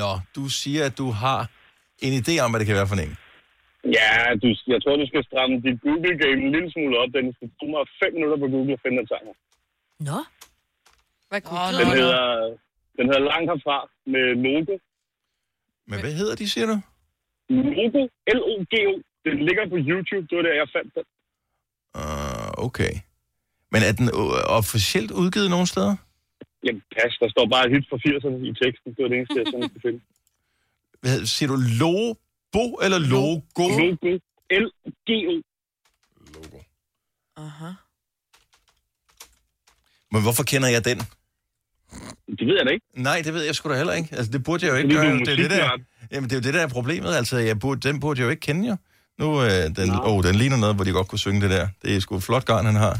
A: Nå, du siger, at du har en idé om, hvad det kan være for en.
M: Ja, du, jeg tror, du skal stramme dit Google-game en lille smule op. Den skal bruge mig fem minutter på Google og finde den sang. her.
B: Nå.
C: Hvad
B: googlede
M: Den
B: du?
M: hedder, den hedder Langt herfra med Mogo.
A: Men hvad hedder de, siger du?
M: Mogo, L-O-G-O. Den ligger på YouTube. Det var der, jeg fandt den.
A: Uh, okay. Men er den o- officielt udgivet nogen steder?
M: Jamen, pas, der står bare hit fra 80'erne i teksten. Det var det eneste, jeg sådan kunne finde.
A: Hvad hedder, siger du Lobo eller Logo?
M: Logo. L-G-O.
C: Aha.
A: Men hvorfor kender jeg den?
M: Det ved jeg da ikke.
A: Nej, det ved jeg sgu da heller ikke. Altså, det burde jeg jo ikke
M: Fordi du er
A: gøre. Det er det, der,
M: musiknørd.
A: jamen, det er jo det, der er problemet. Altså, jeg burde, den burde jeg jo ikke kende, jo. Nu, øh, den, oh, den ligner noget, hvor de godt kunne synge det der. Det er sgu et flot garn, han har.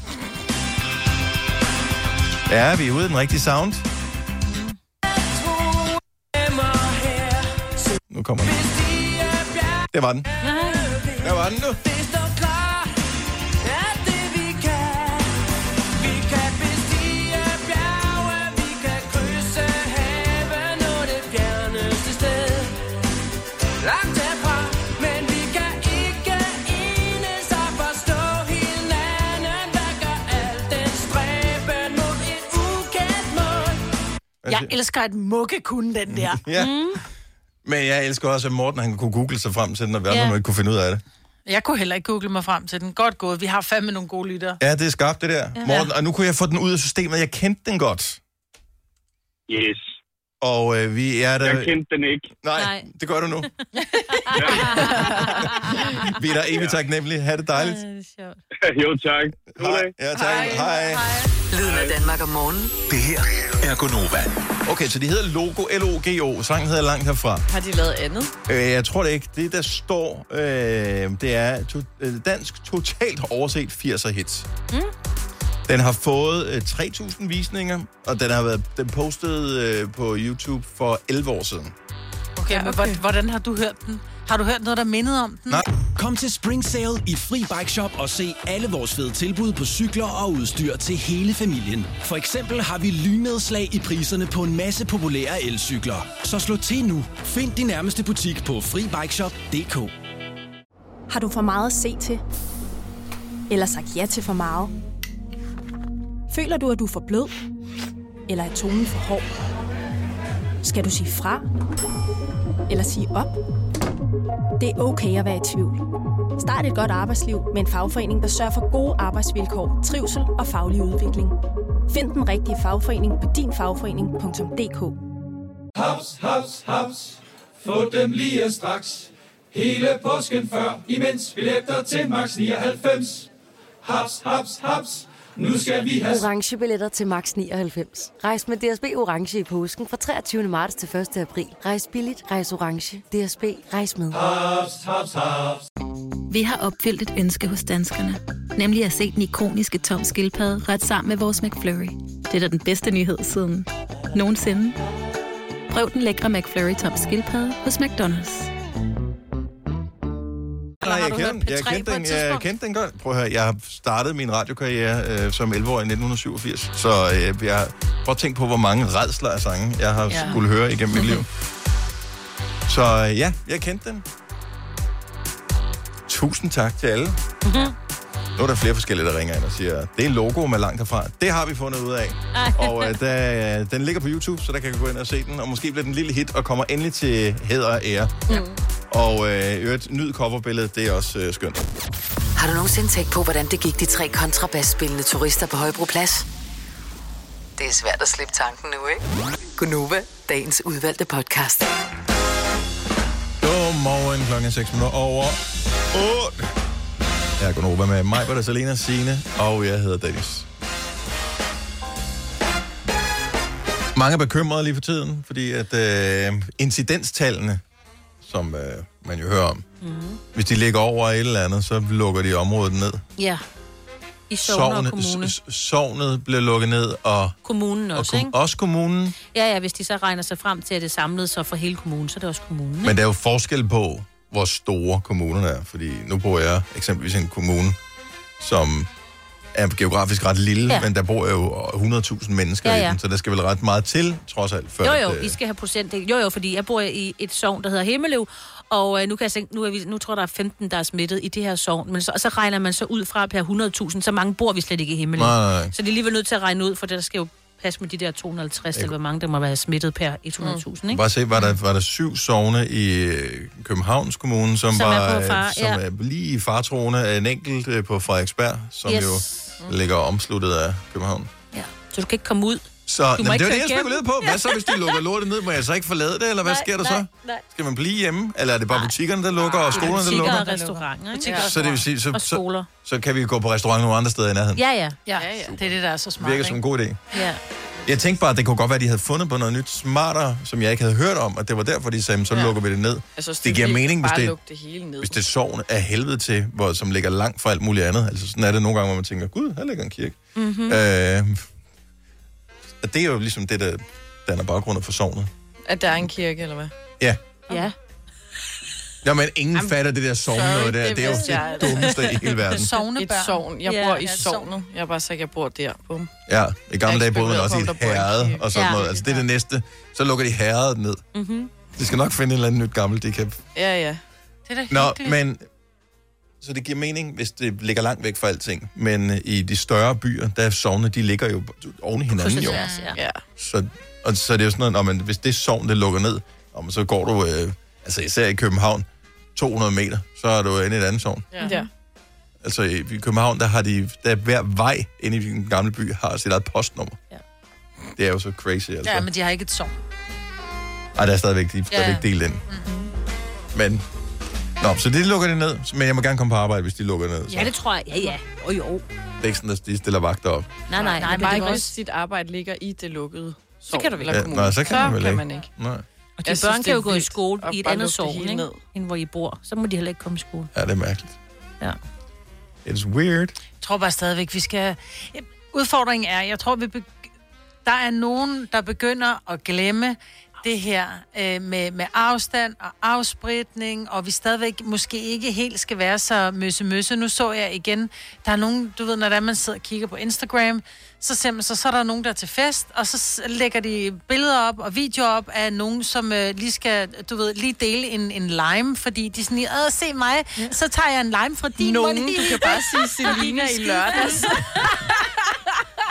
A: Ja, vi er ude i den rigtige sound. Nu kommer den. Det var den. Der var den nu.
L: Langt herfra, men vi kan ikke enes og forstå hinanden, hvad gør al den stræ
D: Altså-
B: Jeg elsker, at Mukke kunne den der.
A: Ja.
D: Mm.
A: Men jeg elsker også, at Morten han kunne google sig frem til den, og verden
D: Ja.
A: yeah. ikke kunne finde ud af det.
D: Jeg kunne heller ikke google mig frem til den. Godt gået. Vi har fandme nogle gode lyttere.
A: Ja, det er skarpt, det der.
D: Ja.
A: Morten, og nu kunne jeg få den ud af systemet. Jeg kendte den godt.
H: Yes.
A: Og øh, vi er der...
H: Jeg kendte den
M: <laughs>
H: ikke.
A: Nej, Nej. det gør du nu. Vi er der evigt taknemmelige. Ha' det dejligt.
H: jo, tak.
A: Hej. Ja, tak. Hej. Hej.
F: Lyden af Danmark om morgenen.
A: Det her er Gonova. Okay, så de hedder Logo, L-O-G-O. Sangen hedder Langt Herfra.
C: Har de lavet andet?
A: Øh, jeg tror det ikke. Det, der står, øh, det er to, øh, dansk totalt overset 80'er hits.
L: Mm.
A: Den har fået øh, 3.000 visninger, og den har været den postet øh, på YouTube for 11 år siden.
D: Okay, ja, okay. men hvordan- hvordan har du hørt den? Har du hørt noget, der mindede om den?
A: Nej.
N: Kom til Spring Sale i Fri Bike Shop og se alle vores fede tilbud på cykler og udstyr til hele familien. For eksempel har vi lynedslag i priserne på en masse populære elcykler. Så slå til nu. Find din nærmeste butik på FriBikeShop.dk
O: Har du for meget at se til? Eller sagt ja til for meget? Føler du, at du er for blød? Eller er tonen for hård? Skal du sige fra? Eller sige op? Det er okay at være i tvivl. Start et godt arbejdsliv med en fagforening, der sørger for gode arbejdsvilkår, trivsel og faglig udvikling. Find den rigtige fagforening på dinfagforening.dk
P: Haps, haps, haps. Få dem lige straks. Hele påsken før, imens billetter til max 99. Haps, haps, haps. Nu skal vi have...
Q: orange billetter til max 99. Rejs med DSB orange i påsken fra 23. marts til 1. april. Rejs billigt, rejs orange. DSB rejs med.
P: Haps, haps, haps.
R: Vi har opfyldt et ønske hos danskerne. Nemlig at se den ikoniske tom skildpadde ret sammen med vores McFlurry. Det er da den bedste nyhed siden nogensinde. Prøv den lækre McFlurry tom skildpadde hos McDonald's.
A: Nej,
R: har
A: jeg
R: du
A: kendte,
R: hørt
A: den. jeg,
R: P3
A: kendte
R: på
A: den,
R: et
A: jeg
R: tidspunkt?
A: kendte den godt. Prøv at høre, jeg har startet min radiokarriere øh, som 11-årig i 1987, så øh, jeg prøv at tænke på, hvor mange redsler af sange, jeg har
L: Ja.
A: ja. skulle høre igennem mit liv. Så øh, ja, jeg kendte den. Tusind tak til alle.
R: Mhm.
A: Nu er der flere forskellige, der ringer ind og siger, det er en logo med langt herfra. Det har vi fundet ud af. Og øh, der, øh, den ligger på YouTube, så der kan du gå ind og se den. Og måske bliver den en lille hit og kommer endelig til hæder og ære. Og øh, i øvrigt, nyd coverbilledet, det er også øh, skønt.
F: Har du nogensinde tænkt på, hvordan det gik de tre kontrabasspillende turister på Højbroplads? Det er svært at slippe tanken nu, ikke? Gunova, dagens udvalgte podcast.
A: Godmorgen klokken 6 minutter over 8. Jeg er Gunnova med mig, Britta, Salina, Signe, og jeg hedder Dennis. Mange er bekymrede lige for tiden, fordi at øh, incidenstallene, som øh, man jo hører om,
B: Mm.
A: hvis de ligger over et eller andet, så lukker de området ned.
B: Ja. I Sogn og Kommune.
A: s- s- sognet bliver lukket ned, og,
B: Kommunen
A: og
B: også,
A: kom-
B: ikke?
A: også kommunen.
B: Ja, ja, hvis de så regner sig frem til, at det samlede sig for hele kommunen, så er det også kommunen.
A: Men der er jo forskel på, hvor store kommunerne er. Fordi nu bor jeg eksempelvis i en kommune, som er geografisk ret lille,
B: Ja.
A: ja. men der bor jo 100.000 mennesker
B: Ja,
A: ja, ja.
B: ja.
A: i den, så der skal vel ret meget til, trods alt. Før
B: Jo, jo,
A: at, øh,
B: I skal have procent. Jo, jo, fordi jeg bor i et sogn, der hedder Himmeløv, og øh, nu, kan jeg tænke, nu, er vi, nu tror jeg, der er 15, der er smittet i det her sogn, men så, og så regner man så ud fra per 100.000, så mange bor vi slet ikke i Himmeløv.
A: Nej, nej, nej.
B: Så de er alligevel nødt til at regne ud, for det der skal jo passe med de der 250, eller hvor mange der må være smittet per 100.000, ikke?
A: Bare se, var der, var der syv sovne i øh, Københavns Kommune, som,
B: Som er
A: var,
B: på far-
A: øh, som
B: ja.
A: er lige i fartroende af en enkelt øh, på Frederiksberg, som
B: Yes. Mm.
A: yes. jo ligger omsluttet af København.
B: Så du kan ikke komme ud.
A: Så
B: Du må
A: jamen,
B: ikke
A: det var
B: køre
A: det, jeg
B: igennem.
A: spekulerede på. Hvad så, hvis de lukker lortet ned? Må jeg så ikke forlade det, eller hvad
B: Nej,
A: sker der
B: nej,
A: så?
B: nej.
A: Skal man blive hjemme? Eller er det bare butikkerne, der lukker, og skolerne, der
B: Butikker
A: lukker?
B: og restauranter,
D: Butikker
B: ikke?
A: Så det vil sige, så,
B: Og skoler.
A: så, så kan vi gå på restaurant nogle andre steder i nærheden.
B: Ja, ja. ja, ja, ja. Det er det, der er så
A: Virker som en god idé.
B: Ja.
A: Jeg tænkte bare, at det kunne godt være, at de havde fundet på noget nyt smartere, som jeg ikke havde hørt om, og det var derfor, de sagde, "Men så
C: Ja.
A: lukker vi det ned.
C: Jeg synes,
A: det giver
C: Altså, er vildt
A: mening, hvis
C: bare at
A: det,
C: lukke det hele ned.
A: hvis det sovn er helvede til, hvor, som ligger langt fra alt muligt andet. Altså sådan er det nogle gange, hvor man tænker, gud, her ligger en kirke.
C: Mhm.
A: Mm-hmm. Øh, og det er jo ligesom det, der danner baggrunden for sovnet.
C: At der er en kirke, eller hvad?
A: Ja.
B: Ja.
A: Nå, men ingen Jamen, fatter det der sovn
C: Sorry,
A: noget der. Det, er jo
C: vidste jeg
A: det
C: ikke.
A: dummeste i hele verden.
C: Et sogn. Jeg
B: Ja,
C: bor
B: ja,
C: i
B: et
C: sognet. Jeg er bare sagt, jeg bor der. Bum.
A: Ja, i gamle
C: Jeg
A: dage boede man
C: spekulerer
A: også
C: på, om
A: i et
C: der bor en
A: herred
C: kirke.
A: og sådan
C: Ja.
A: noget. Altså det er det næste. Så lukker de herredet ned.
C: Mm-hmm.
A: De skal nok finde en eller anden nyt gammelt, de kan
C: Ja, ja.
D: Det er da
A: Nå, men... Så det giver mening, hvis det ligger langt væk fra alting. Men øh, i de større byer, der er sovne, de ligger jo oven i hinanden jo.
C: ja.
A: Så, Og så er det jo sådan noget, når man, hvis det sovn, det lukker ned, og så går du, øh, altså især i København, 200 meter, så er du inde i et andet sovn.
C: Ja. ja.
A: Altså i i København, der har de, der hver vej inde i den gamle by, har sit eget postnummer. Ja. Det er jo så crazy, altså.
D: Ja, men de har ikke et sovn.
A: Ej, der er stadigvæk, de er
D: Ja. Mm-hmm.
A: stadigvæk delt ind. Men, nå, så det lukker det ned, men jeg må gerne komme på arbejde, hvis de lukker ned. Så.
B: Ja, det tror jeg. Ja, ja. Og jo.
A: Det er ikke sådan, at de stiller vagter op.
B: Nej, nej.
C: Nej,
B: men
C: bare
B: det
C: ikke,
B: var
C: hvis dit arbejde ligger i det lukkede sovn.
B: kan du vel
C: eller
A: Ja,
C: kommune.
A: nej, så kan
C: så
A: man vel
C: kan
A: ikke.
C: Man ikke.
A: Nej.
B: Og
C: Jeg
B: dine
C: synes,
B: børn
C: det
B: kan
C: er
B: jo gå i
C: vildt
B: skole
C: at
B: i et
C: bare
B: andet
C: lukke
B: sovn,
C: det hele
B: ikke?
C: ned.
B: End hvor I bor. Så må de heller ikke komme i skole.
A: Ja, det er mærkeligt.
B: Ja.
A: It's weird.
D: Jeg tror bare stadigvæk, vi skal... Udfordringen er, jeg tror, vi be... der er nogen, der begynder at glemme det her øh, med, med afstand og afspritning, og vi stadigvæk måske ikke helt skal være så møsse-møsse. Nu så jeg igen, der er nogen, du ved, når det er, man sidder og kigger på Instagram, så ser man, så, så er der nogen, der er til fest, og så s- lægger de billeder op og videoer op af nogen, som øh, lige skal, du ved, lige dele en, en lime, fordi de er sådan lige, "Åh, se mig, så tager jeg en lime fra din
C: Nogen,
D: mund."
C: du kan bare
B: <laughs>
C: sige Selina i lørdags.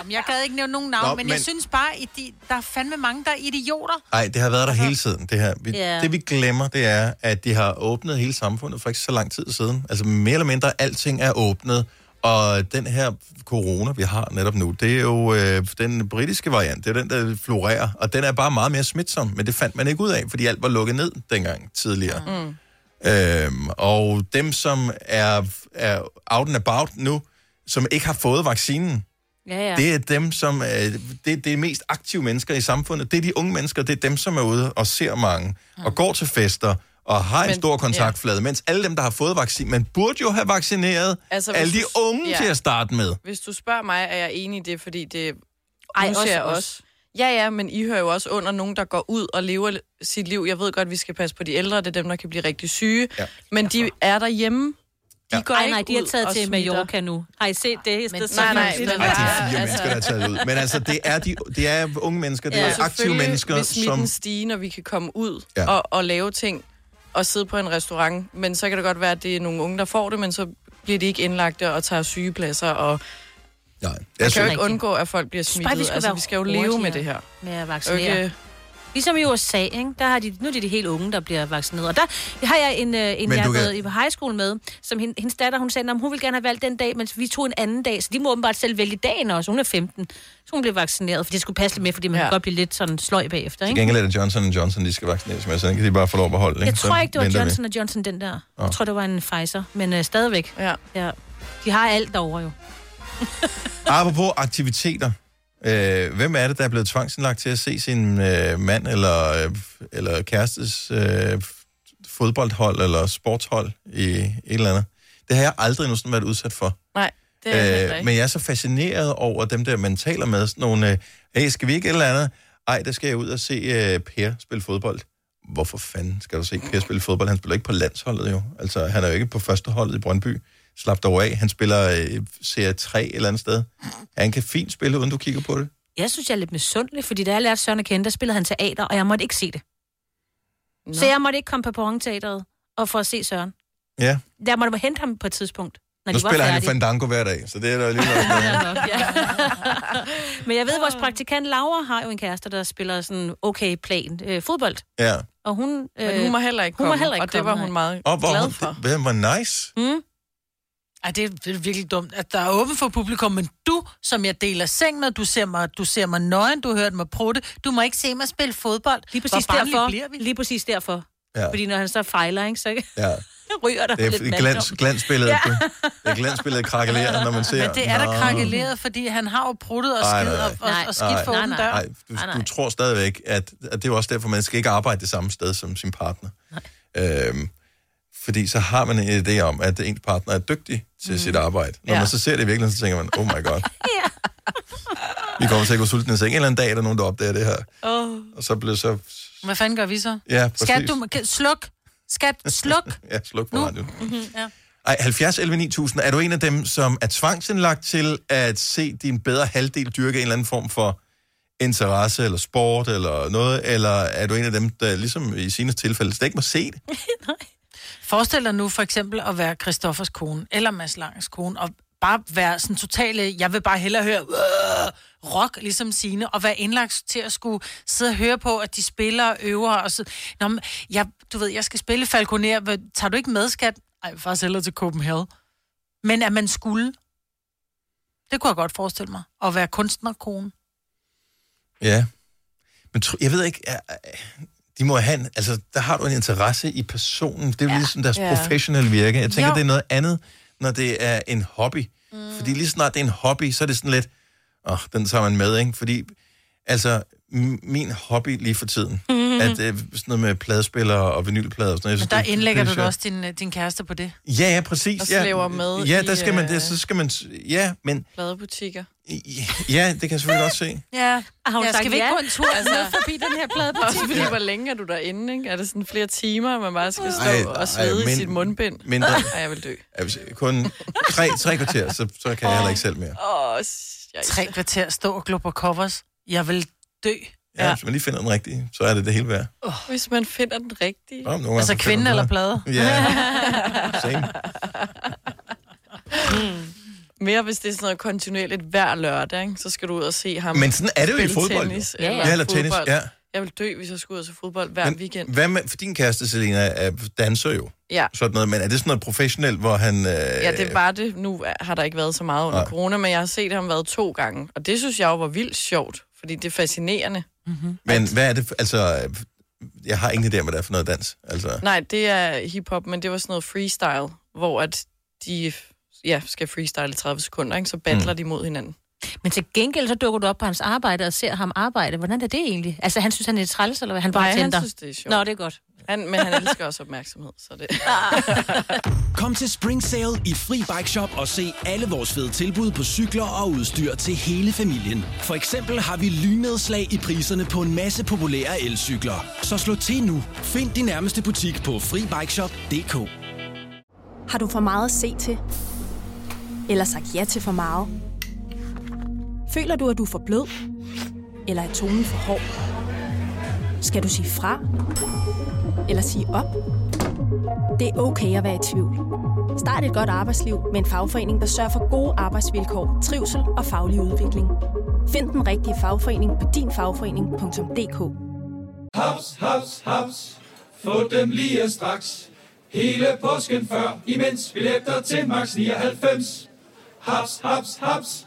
D: Jamen, jeg gad ikke nævne nogen navn,
A: Nå,
D: Nå, men, men jeg
A: men-
D: synes bare, at de, der er fandme mange, der er idioter.
A: Nej, det har været der hele tiden, det her. Vi,
D: Ja.
A: yeah. Det vi glemmer, det er, at de har åbnet hele samfundet for ikke så lang tid siden. Altså mere eller mindre, alting er åbnet. Og den her corona, vi har netop nu, det er jo øh, den britiske variant. Det er den, der florerer. Og den er bare meget mere smitsom. Men det fandt man ikke ud af, fordi alt var lukket ned dengang tidligere.
L: Mm.
A: Øhm, og dem, som er, er out and about nu, som ikke har fået vaccinen,
B: Ja, ja.
A: Ja. Det er dem, som øh, det, det er mest aktive mennesker i samfundet. Det er de unge mennesker, det er dem, som er ude og ser mange, mm. og går til fester, og har en
C: Men-
A: men, stor kontaktflade, ja. mens alle dem, der har fået vaccin, man burde jo have vaccineret altså, alle de
C: hvis du-
A: unge ja. til at starte med.
C: Hvis du spørger mig, er jeg enig i det, fordi det...
B: Ej,
C: nu ser
B: også
C: jeg
B: os.
C: Ja, ja, men I hører jo også under nogen, der går ud og lever l- sit liv. Jeg ved godt, vi skal passe på de ældre, det er dem, der kan blive rigtig syge. Ja. Men de er derhjemme. De ja. går
B: Ej,
C: ikke
B: nej, de er
C: ud
B: taget
C: og
B: til
C: smitter.
B: Mallorca nu. Har I set det? Men, det
C: nej, nej, men
A: Ja, de fire altså... mennesker, der er taget ud. Men altså, det er, de, det er unge mennesker, det
C: Og
A: ja. er aktive
C: Altså, selvfølgelig
A: mennesker,
C: vil smitten
A: som...
C: stige, når vi kan komme ud
A: Ja.
C: ja. og, og lave ting og sidde på en restaurant. Men så kan det godt være, at det er nogle unge, der får det, men så bliver de ikke indlagte og tager sygepladser. Og
A: Altså- Nej,
C: man kan jo
B: synes-
C: ikke undgå, at folk bliver
B: synes bare,
C: smittet.
B: vi skal
C: altså,
B: være
C: vi skal jo leve med
B: hurtigere
C: det her.
B: Med at vaccinere.
C: Okay.
B: Okay. Ligesom i USA, ikke? Der har de, nu er det de helt unge, der bliver vaccineret. Og der har jeg en, øh, en
A: Men
B: jeg
A: du
B: har
A: kan-
B: gået i high school med, som hende, hendes datter, hun sagde, at hun ville gerne have valgt den dag, men vi tog en anden dag, så de må åbenbart selv vælge dagen også. Hun er 15, så hun blev vaccineret, for det skulle passe lidt med, fordi man ja. kan godt blive lidt sådan sløj bagefter,
A: Til
B: ikke?
A: gengæld er det Johnson Johnson, de skal vaccineres med, så den kan de bare få lov at beholde.
B: Jeg tror
A: Altså, Så
B: ikke, det var
A: venter vi.
B: Johnson og Johnson, den der.
A: Åh.
B: Jeg tror, det var en Pfizer, men øh, stadigvæk.
C: Ja.
B: ja. De har alt derovre jo.
A: Apropos aktiviteter. Øh, hvem er det, der er blevet tvangsindlagt til at se sin øh, mand eller, øh, eller kærestes øh, fodboldhold eller sportshold i et eller andet? Det har jeg aldrig nogensinde været udsat for.
C: Nej, det er jeg heller
A: Øh,
C: ikke.
A: men jeg er så fascineret over dem der, man taler med. Sådan nogle, øh, hey, skal vi ikke et eller andet? Ej, der skal jeg ud og se øh, Per spille fodbold. Hvorfor fanden skal du se Per spille fodbold? Han spiller ikke på landsholdet jo. Altså, han er jo ikke på førsteholdet i Brøndby. Slap dig over af. Han spiller øh, serie 3 et eller andet sted. Han kan fint spille, uden du kigger på det.
B: Jeg synes, jeg er lidt misundelig, fordi da jeg lærte Søren at kende, der spillede han teater, og jeg måtte ikke se det. Nå. Så jeg måtte ikke komme på Pong-teateret og for at se Søren.
A: Ja.
B: Jeg måtte hente ham på et tidspunkt. Når
A: Nu
B: de var
A: spiller han jo
B: færdige.
A: Fandango hver dag, så det er der lige noget.
B: <laughs> Men jeg ved, at vores praktikant Laura har jo en kæreste, der spiller sådan okay plan øh, fodbold.
A: Ja.
B: Og hun, øh,
C: Men hun må heller ikke
B: hun
C: komme,
B: må heller ikke
C: og det var
B: komme,
C: hun
B: nej.
C: meget
A: Og hvor
C: glad
A: hun,
C: for.
A: det, det var nice.
B: Mm.
D: Ej, det er, det er virkelig dumt, at der er åben for publikum, men du, som jeg deler seng med, du ser mig, du ser mig nøgen, du hørte mig prutte, du må ikke se mig spille fodbold.
B: Lige præcis
D: Hvor barnlig
B: derfor.
D: Bliver vi?
B: Lige præcis derfor.
A: Ja.
B: Fordi når han så fejler, ikke, så
A: Ja.
B: ryger der
A: Det er
B: lidt
A: et
B: <laughs>
A: glans,
B: mandom.
A: glansbillede. Ja. Det er glansbilledet krakelerer, når man ser.
D: Men det er da
A: Nå.
D: krakeleret, fordi han har jo pruttet og
A: Ej,
D: skidt
A: nej,
D: og, og, og skidt for åben dør.
A: Nej, du, du tror stadigvæk, at, at det er jo også derfor, man skal ikke arbejde det samme sted som sin partner. Øhm, fordi så har man en idé om, at ens partner er dygtig til mm. sit arbejde. Når ja.
L: Ja.
A: man så ser det i virkeligheden, så tænker man, oh my god. Vi kommer til at gå sultne i seng. En eller anden dag er der nogen, der opdager det her.
D: Åh.
A: Og så bliver så...
D: Hvad fanden gør vi så?
A: Ja,
D: Skat,
A: præcis.
D: du, må- kan- sluk. Skat, sluk.
A: <laughs> Ja, sluk på
D: Nu.
A: radioen.
D: Mhm, ja.
A: Ej, 70 11 9000. Er du en af dem, som er tvangsindlagt til at se din bedre halvdel dyrke en eller anden form for interesse eller sport eller noget? Eller er du en af dem, der ligesom i sine tilfælde slet ikke må se det?
D: Forestil dig nu for eksempel at være Christoffers kone, eller Mads Langs kone, og bare være sådan totale, jeg vil bare hellere høre "Åh!" rock, ligesom sine og være indlagt til at skulle sidde og høre på, at de spiller og øver, og så, Nå, men, jeg, du ved, jeg skal spille Falconer, Hvad, tager du ikke med, skat? Ej, jeg vil faktisk hellere til Copenhagen. Men at man skulle, det kunne jeg godt forestille mig, at være kunstnerkone.
A: Ja. Men tro, jeg ved ikke, er, er- de må have en, altså, der har du en interesse i personen. Det er jo ja. ligesom deres
E: Ja.
A: ja. professionelle virke. Jeg tænker,
E: Jo.
A: jo. det er noget andet, når det er en hobby. Mm. Fordi lige snart det er en hobby, så er det sådan lidt, åh, oh, den tager man med, ikke? Fordi, altså, m- min hobby lige for tiden,
D: Mhm.
A: mm. at øh, sådan noget med pladespillere og vinylplader og sådan noget.
D: Men
A: jeg synes,
D: der
A: det er-
D: indlægger
A: det er
D: du da
A: sjovt.
D: også din, øh, din kæreste på det.
A: Ja, ja, præcis.
D: Og
A: ja.
D: slæver med
A: Ja,
D: i,
A: der skal man,
D: øh,
A: det, så skal man, ja, men,
C: Pladebutikker.
A: ja, det kan
D: <laughs>
A: jeg selvfølgelig godt se.
D: Ja.
B: Har Ah, hun
C: ja,
B: sagt
C: skal vi ikke
B: ja?
C: gå en tur
B: Altså-
C: <laughs> altså, forbi den her plade?
B: <laughs>
C: Også fordi,
A: Ja.
C: hvor længe er du derinde, ikke? Er det sådan flere timer, at man bare skal stå
A: Ej,
C: ej, og svede
A: ej,
C: ej,
A: men-
C: i sit mundbind?
A: mindre.
C: Ej, jeg vil dø.
A: Ja, hvis- Kun tre, tre kvarter, så, så kan jeg heller ikke selv mere.
C: Åh,
D: Tre kvarter stå og glo på covers. Jeg vil dø.
A: Ja, hvis man lige finder den rigtige, så er det det hele værd.
D: Oh.
C: Hvis man finder den rigtige.
A: Nå, men nogle gange
D: altså
A: så finder
D: kvinde
A: man
D: eller
A: den.
D: plade? <laughs>
A: Ja. Same.
C: Mere hvis det er sådan noget kontinuerligt hver lørdag, ikke? så skal du ud og se ham.
A: Men sådan er det jo i
C: spille
A: fodbold, jo.
C: Tennis,
A: Ja, ja. Ja, eller tennis,
C: fodbold.
A: ja.
C: Jeg vil dø, hvis jeg skulle ud og se fodbold hver men, weekend.
A: Hvad med, for din kæreste, Selina, er danser jo.
C: Ja.
A: Sådan noget, men er det sådan noget professionelt, hvor han... Øh,
C: Ja, det var det. Nu har der ikke været så meget under
A: Nej.
C: corona, men jeg har set ham været to gange. Og det synes jeg jo var vildt sjovt, fordi det er fascinerende. Mm-hmm.
A: Men hvad er det... for- Altså, øh, jeg har ingen idé om, hvad det er for noget dans. Altså,
C: Nej, det er hiphop, men det var sådan noget freestyle, hvor at de ja, skal freestyle i 30 sekunder, ikke? så battler mm. de mod hinanden.
B: Men til gengæld så dukker du op på hans arbejde og ser ham arbejde. Hvordan er det egentlig? Altså, han synes, han er træls, eller hvad? Han bare
C: Nej, han
B: tænder.
C: synes, det er sjovt.
B: Nå, det er godt.
C: Han, men han elsker også opmærksomhed, så det...
N: Kom til Spring Sale i Fri Bike Shop og se alle vores fede tilbud på cykler og udstyr til hele familien. For eksempel har vi lynedslag i priserne på en masse populære elcykler. Så slå til nu. Find din nærmeste butik på FriBikeShop.dk.
O: Har du for meget at se til? Eller sagt ja til for meget? Føler du, at du er for blød? Eller er tonen for hård? Skal du sige fra? Eller sige op? Det er okay at være i tvivl. Start et godt arbejdsliv med en fagforening, der sørger for gode arbejdsvilkår, trivsel og faglig udvikling. Find den rigtige fagforening på dinfagforening.dk.
P: Haps, haps, haps. Få dem lige straks. Hele påsken før, imens billetter til max 99. Haps, haps, haps.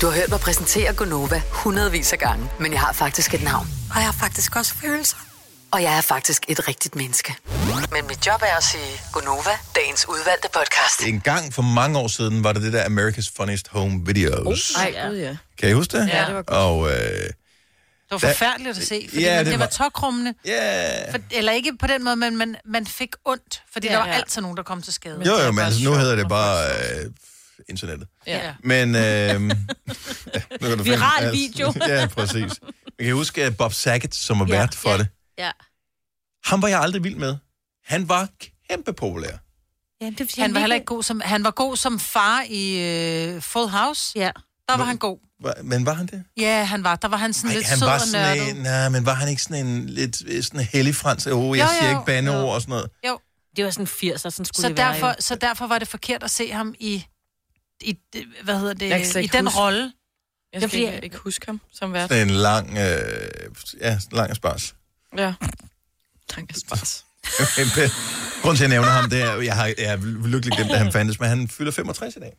F: Du har hørt mig præsentere Gonova hundredvis af gange, men jeg har faktisk et navn.
G: Og jeg har faktisk også følelser.
F: Og jeg er faktisk et rigtigt menneske. Men mit job er at sige Gonova, dagens udvalgte podcast.
A: en gang for mange år siden var det det der America's Funniest Home Videos.
C: Ej, gud ja.
A: Kan I huske det?
D: Oh. Ja, det var godt.
A: Og, øh,
D: Det var
A: Da-
D: forfærdeligt at se, fordi
A: Ja,
D: ja, det,
A: det
D: det var
A: var-
D: tokrummende.
A: Yeah.
D: For, eller ikke på den måde, men man, man fik ondt, fordi
C: Ja,
D: ja, der var
C: ja.
D: ja. altid nogen, der kom til skade.
A: jo, jo, men altså, nu hedder det bare øh, internettet.
D: Ja.
A: Men... Øh, <laughs> ja, nu kan du finde
B: Viral
A: alt.
B: video.
A: <laughs> ja, præcis. Jeg kan huske at Bob Saget, som var vært for det.
B: Ja.
A: Ham var jeg aldrig vild med. Han var kæmpe populær.
B: ja det, er fordi,
D: Han var heller
B: virkelig-
D: ikke god som... Han var god som far i øh, Full House.
B: Ja.
D: Der var han god.
A: Hva- Men var han det?
D: Ja, han var. Der var han sådan
A: Ej,
D: lidt
A: han
D: sød
A: var
D: og
A: sådan
D: nørdet.
A: en, nej, men var han ikke sådan en lidt øh, sådan en hellig fransk, åh, oh, jeg
D: Jo,
A: siger
D: jo,
A: ikke bandeord og sådan noget.
D: Jo.
B: Det var sådan 80'er, sådan skulle
D: så
B: det
D: derfor,
B: være. jo.
D: Så derfor var det forkert at se ham i, i hvad hedder
C: Jeg kan
D: det,
C: slet
D: i
C: ikke
D: den
C: huske-
D: rolle.
C: Jeg
D: Det
C: skal
D: bliver-
C: ikke, ikke huske ham som vært.
A: Sådan en lang, øh, ja, sådan en lang og spars.
C: Ja. Tak, jeg spars.
A: Grunden til, at jeg nævner ham, det er, jeg, har, jeg er lykkelig glemt, at han fandtes, men han fylder 65 i dag.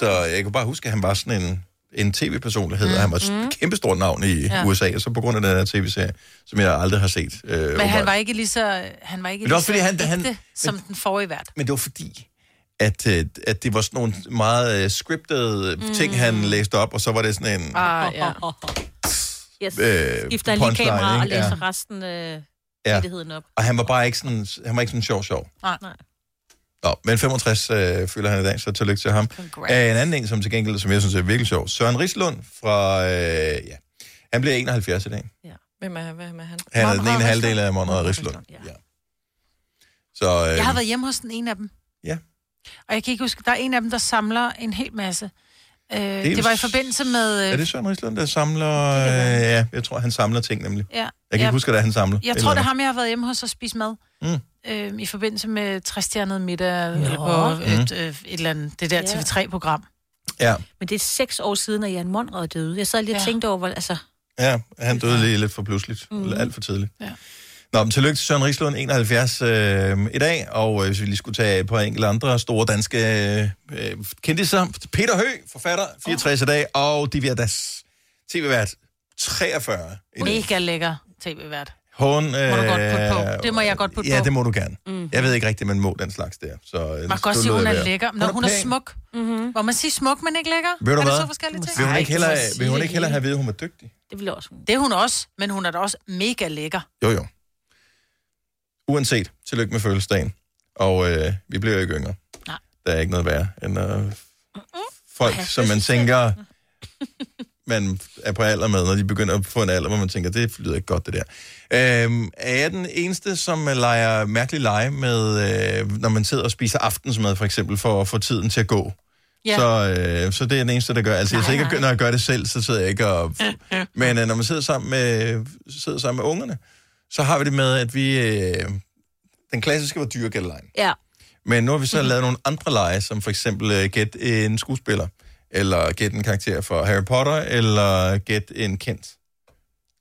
A: Så jeg kan bare huske, at han var sådan en, en tv-personlighed, og han var et kæmpe stort navn i
D: Mm. Ja.
A: USA, og så på grund af den her tv-serie, som jeg aldrig har set. Øh,
D: Men
A: åbenbart.
D: han var ikke lige så, han var ikke
A: Men det
D: lige
A: er også
D: så
A: fordi, han-
D: ægte,
A: han-
D: som den forrige vært.
A: Men det var fordi, at, øh, at det var sådan nogle meget øh, scriptede mm. ting, han læste op, og så var det sådan en...
C: Ah, ja.
B: Yes.
A: øh,
B: Skifter han lige
A: punchline,
B: kamera og
A: ikke?
B: læser resten af
A: Ja.
B: øh, ja. op.
A: Og han var bare ikke sådan, han var ikke sådan sjov sjov.
D: Nej.
A: Nå, men 65 øh, fylder han i dag, så tillykke til ham. Æ, en anden en, som til gengæld, som jeg synes er virkelig sjov, Søren Rislund fra, øh, ja, Han bliver 71 i dag.
C: Hvem er, hvem er han?
A: Han er den ene halvdel af Monrad Rislund. Ja. Så øh,
D: Jeg har været hjemme hos den ene af dem.
A: Ja.
D: Og jeg kan ikke huske, der er en af dem, der samler en hel masse. Øh,
A: en
D: det var i forbindelse med... øh,
A: er det Søren Rislund, der samler... Øh, ja, jeg tror, han samler ting nemlig.
D: Ja.
A: Jeg kan ikke huske, hvad det er, han samler. Et
D: Jeg
A: eller
D: tror, det er
A: andet.
D: ham, jeg har været hjemme hos og spise mad.
A: Mm.
D: Øh, I forbindelse med træstjernet middag, eller på
A: Mm.
D: et, øh, et eller andet, det der
B: Ja.
D: TV3-program.
A: Ja.
B: Men det er seks år siden, at Jan Monrad døde. Jeg sad lige og ja. tænkte over, hvor, altså...
A: Ja, han døde lige lidt for pludseligt.
B: Mhm.
A: Mm. Alt for tidligt.
D: Ja.
A: Nå, men tillykke til Søren Rislund, 71 øh, i dag. Og øh, hvis vi lige skulle tage et par enkelte andre store danske øh, kendtiser. Peter Hø, forfatter, 64 i dag. Og Divya Das, tv-vært, 43 i dag.
D: Mega lækker tv-vært.
A: Hun, øh,
D: Må du godt putte på. Det må jeg godt putte
A: ja,
D: på.
A: det må du gerne.
D: Mhm.
A: Mm. Jeg ved ikke rigtigt, man må den slags der. Så, øh,
D: Man kan godt
A: så
D: sige,
A: lod
D: hun
A: jeg
D: er
A: være.
D: lækker. Når hun er, smuk. Mm-hmm. Hvor man siger smuk, men ikke lækker.
A: Ved du
D: er det
A: hvad?
D: så forskellige ting?
A: Vil hun ikke hellere,
D: Ej, du må
A: vil hun
D: sige
A: ikke hellere have at vide, at hun er dygtig?
B: Det vil også hun.
D: Det er hun også, men hun er da også mega lækker.
A: Jo, jo. Uanset, tillykke med fødselsdagen. Og øh, vi bliver jo ikke yngre.
D: Nej.
A: Der er ikke noget værre end øh, folk, som man tænker, man er på alder med, når de begynder at få en alder, hvor man tænker, det lyder ikke godt, det der. Øhm, er jeg den eneste, som øh, leger mærkelig lege med, øh, når man sidder og spiser aftensmad, for eksempel, for at få tiden til at gå?
D: Ja.
A: Så, øh, så det er den eneste, der gør. Altså, nej,
D: Nej,
A: jeg sidder ikke,
D: nej.
A: når jeg gør det selv, så sidder jeg ikke og... Men øh, når man sidder sammen, med, sidder sammen med ungerne, så har vi det med, at vi... Øh, den klassiske var dyregældelejen.
B: Ja.
A: Men nu har vi
D: Mhm.
A: så lavet nogle andre lege, som for eksempel øh, gæt en skuespiller, eller gæt en karakter for Harry Potter, eller gæt en kendt.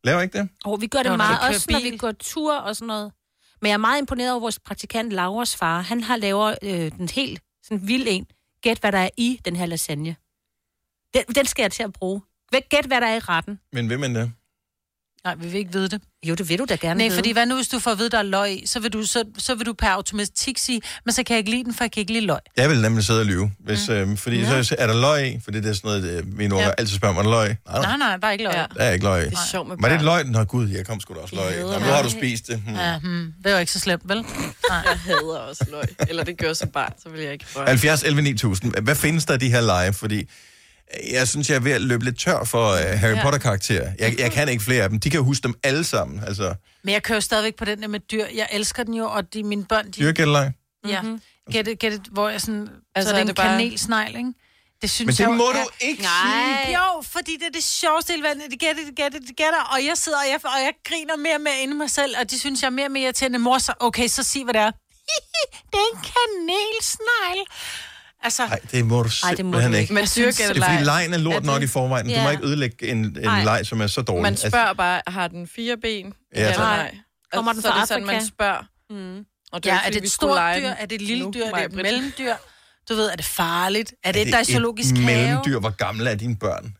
A: Laver I ikke det?
B: Og vi gør det
D: Når du
B: meget,
D: kører
B: også når vi går tur og sådan noget. Men jeg er meget imponeret over vores praktikant Lauras far. Han har lavet øh, den helt sådan vild en. Gæt, hvad der er i den her lasagne. Den, den skal jeg til at bruge. Væk- Gæt, hvad der er i retten.
A: Men vil man det?
D: Nej, vi vil ikke vide det.
B: Jo, det vil du da gerne
D: Nej,
B: vide.
D: fordi hvad nu, hvis du får at vide, der er løg i, så vil du, så, så vil du per automatik sige, men så kan jeg ikke lide den, for jeg kan ikke lide løg.
A: Jeg vil nemlig sidde og lyve, hvis, mm. øh, fordi ja. så er der løg i, fordi det er sådan noget, øh, mine unger
D: Ja.
A: ja. altid spørger mig, er der løg i?" Nej,
D: Nej, nej, der er ikke løg. Ja.
A: der er ikke løg i.
D: Det er sjovt med
A: Var det
D: børn.
A: løg? Nå gud, jeg kom sgu da også løg i. Nå, men nu har du spist det. Hmm.
D: Ja, hmm. Det var ikke så slemt, <laughs> vel? Nej.
C: Jeg hader også løg. Eller det gør som barn, så vil jeg ikke prøve.
A: 70 11 9000. Hvad findes der af de her lege? Fordi jeg synes, jeg er ved at løbe lidt tør for uh, Harry
D: Ja.
A: Potter-karakterer. Jeg, jeg kan ikke flere af dem. De kan jo huske dem alle sammen. Altså,
D: Men jeg kører stadigvæk på den der med dyr. Jeg elsker den jo, og de, mine børn, de...
A: dyrgældelej.
D: Ja. Mm-hmm. Get it, get it, hvor jeg sådan...
C: Altså,
D: Altså, så er det
C: er
D: en
C: det
D: det
C: bare-
D: kanelsnegl, ikke? Det synes
A: Men det
D: jeg, jo
A: må du
D: er-
A: ikke
D: Nej. Jo, fordi det er det sjoveste hele verden. Det gætter, det gætter, det gætter. Og jeg sidder, og jeg, og jeg griner mere og mere inde i mig selv, og de synes, jeg er mere og mere irriterende mor. Så, okay, så sig, hvad det er. <laughs> det er en kanelsnegl. Altså,
A: Nej, det må du simpelthen
D: du
A: ikke.
D: ikke. Men
A: det er
D: dyrgældelej,
A: fordi, lejen er lort
C: er det-
A: nok i forvejen. Du
C: Ja.
A: må ikke ødelægge en, en
C: Nej.
A: leg, som er så dårlig. Altså,
C: Man spørger bare, har den fire ben?
A: Ja,
C: Ja,
A: tak.
C: eller nej?
D: Kommer den
C: så er
D: fra
C: det sådan,
D: Afrika?
C: man spørger.
D: Mm.
C: Og det
D: ja,
C: var
D: er
C: fordi,
D: det
C: vi
D: et
C: skulle
D: stort
C: lege
D: dyr?
C: den
D: Er det et lille
C: nu,
D: dyr? Er det et
C: Maj-Brit.
D: mellemdyr? Du ved, er det farligt? Er det, er det
A: et
D: der er i zoologisk have?
A: mellemdyr? Hvor gamle er dine børn?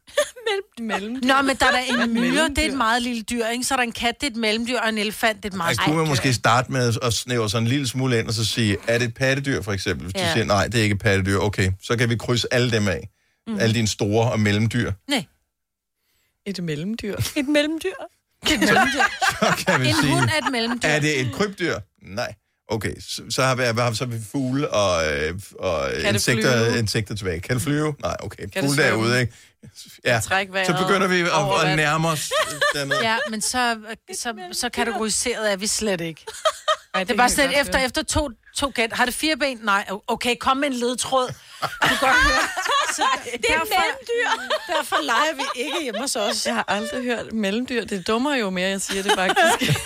D: Nå, men der er der en myre, det er et meget lille dyr, ikke? Så er der en kat, det er et mellemdyr, og en elefant, det er et meget
A: Altså,
D: stort
A: kunne man
D: dyr.
A: måske starte med at snævre sådan en lille smule ind, og så sige, er det et pattedyr, for eksempel? Hvis ja.
D: Ja.
A: du siger, nej, det er ikke et pattedyr, okay, så kan vi krydse alle dem af.
D: Mhm.
A: Mm. Alle dine store og mellemdyr. <laughs>
D: Nej.
C: Et mellemdyr.
B: Et mellemdyr.
D: Et mellemdyr.
A: Så kan vi
D: en
A: sige,
D: hund er et mellemdyr.
A: Er det et krybdyr? Nej. Okay, så, så har vi, hvad har vi så med fugle og, øh, og
C: Kan det
A: insekter,
C: flyve?
A: insekter tilbage. Kan det flyve? Nej, okay.
C: det
A: Fugle
C: svømme?
A: derude, ikke? Ja,
C: Træk vejret
A: så begynder vi
C: over
A: at, at
C: vand.
A: nærme os øh, dernede.
D: Ja, men så, øh, så, så kategoriseret er vi slet ikke.
C: Ej,
D: Det er bare sådan, efter, efter to, to gæt. Har det fire ben? Nej. Okay, kom med en ledtråd. Du kan godt <laughs> høre. Så
L: Det er et mellemdyr.
D: Mm, Derfor leger vi ikke hjemme hos os.
C: Jeg har aldrig hørt mellemdyr. Det dummer jo mere, jeg siger det
K: <laughs>
C: faktisk.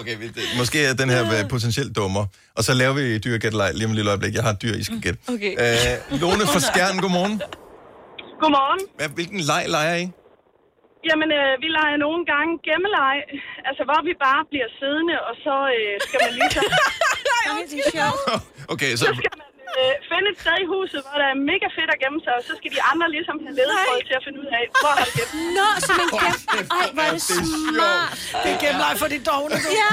A: Okay, vi- det- måske er den her øh, potentielt dummer. Og så laver vi dyr gættelej lige om et lille øjeblik. Jeg har et dyr, I skal gætte.
C: Okay.
A: Øh, Lone fra Skjern, godmorgen.
K: Godmorgen.
A: Hvad, hvilken leg leger I? <laughs>
K: Jamen, øh, vi leger nogle gange gemmeleje. Altså, hvor vi bare bliver siddende, og så øh, skal man
C: <laughs>
K: lige så...
A: Okay,
K: så
A: så...
K: skal man øh, finde et sted i huset, hvor der er mega fedt at gemme sig, og så skal de andre ligesom have ledetråd til at finde ud af, hvor har du gemt den.
B: Nå, så man gæt... Ej, hvor er det
A: det er sjovt.
B: smart.
D: Det er gemmeleje for de dogne. du.
B: Ja.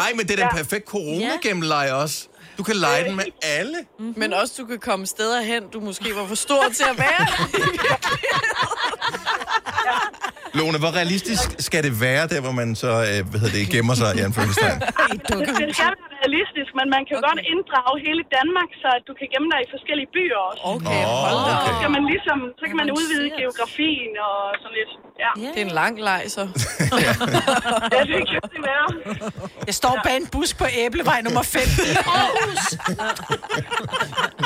A: Nej, men det er den perfekte corona-gemmeleje også. Du kan lege
K: <laughs>
A: den med alle.
C: Men også, du kan komme steder hen, du måske var for stor til at være.
A: Lone, hvor
B: <laughs>
A: realistisk skal det være, der hvor man så, øh, hvad hedder det, gemmer sig i anførselstegn?
K: Det skal være realistisk, men man kan jo okay. godt inddrage hele Danmark, så du kan gemme dig i forskellige byer også.
A: Okay, hold da
K: Så
A: op.
K: kan man ligesom, så kan man udvide geografien og sådan lidt. Ja.
C: Det er en lang leg, så.
K: ja, det kan det være.
D: Jeg står bag en bus på æblevej nummer 5 i Aarhus.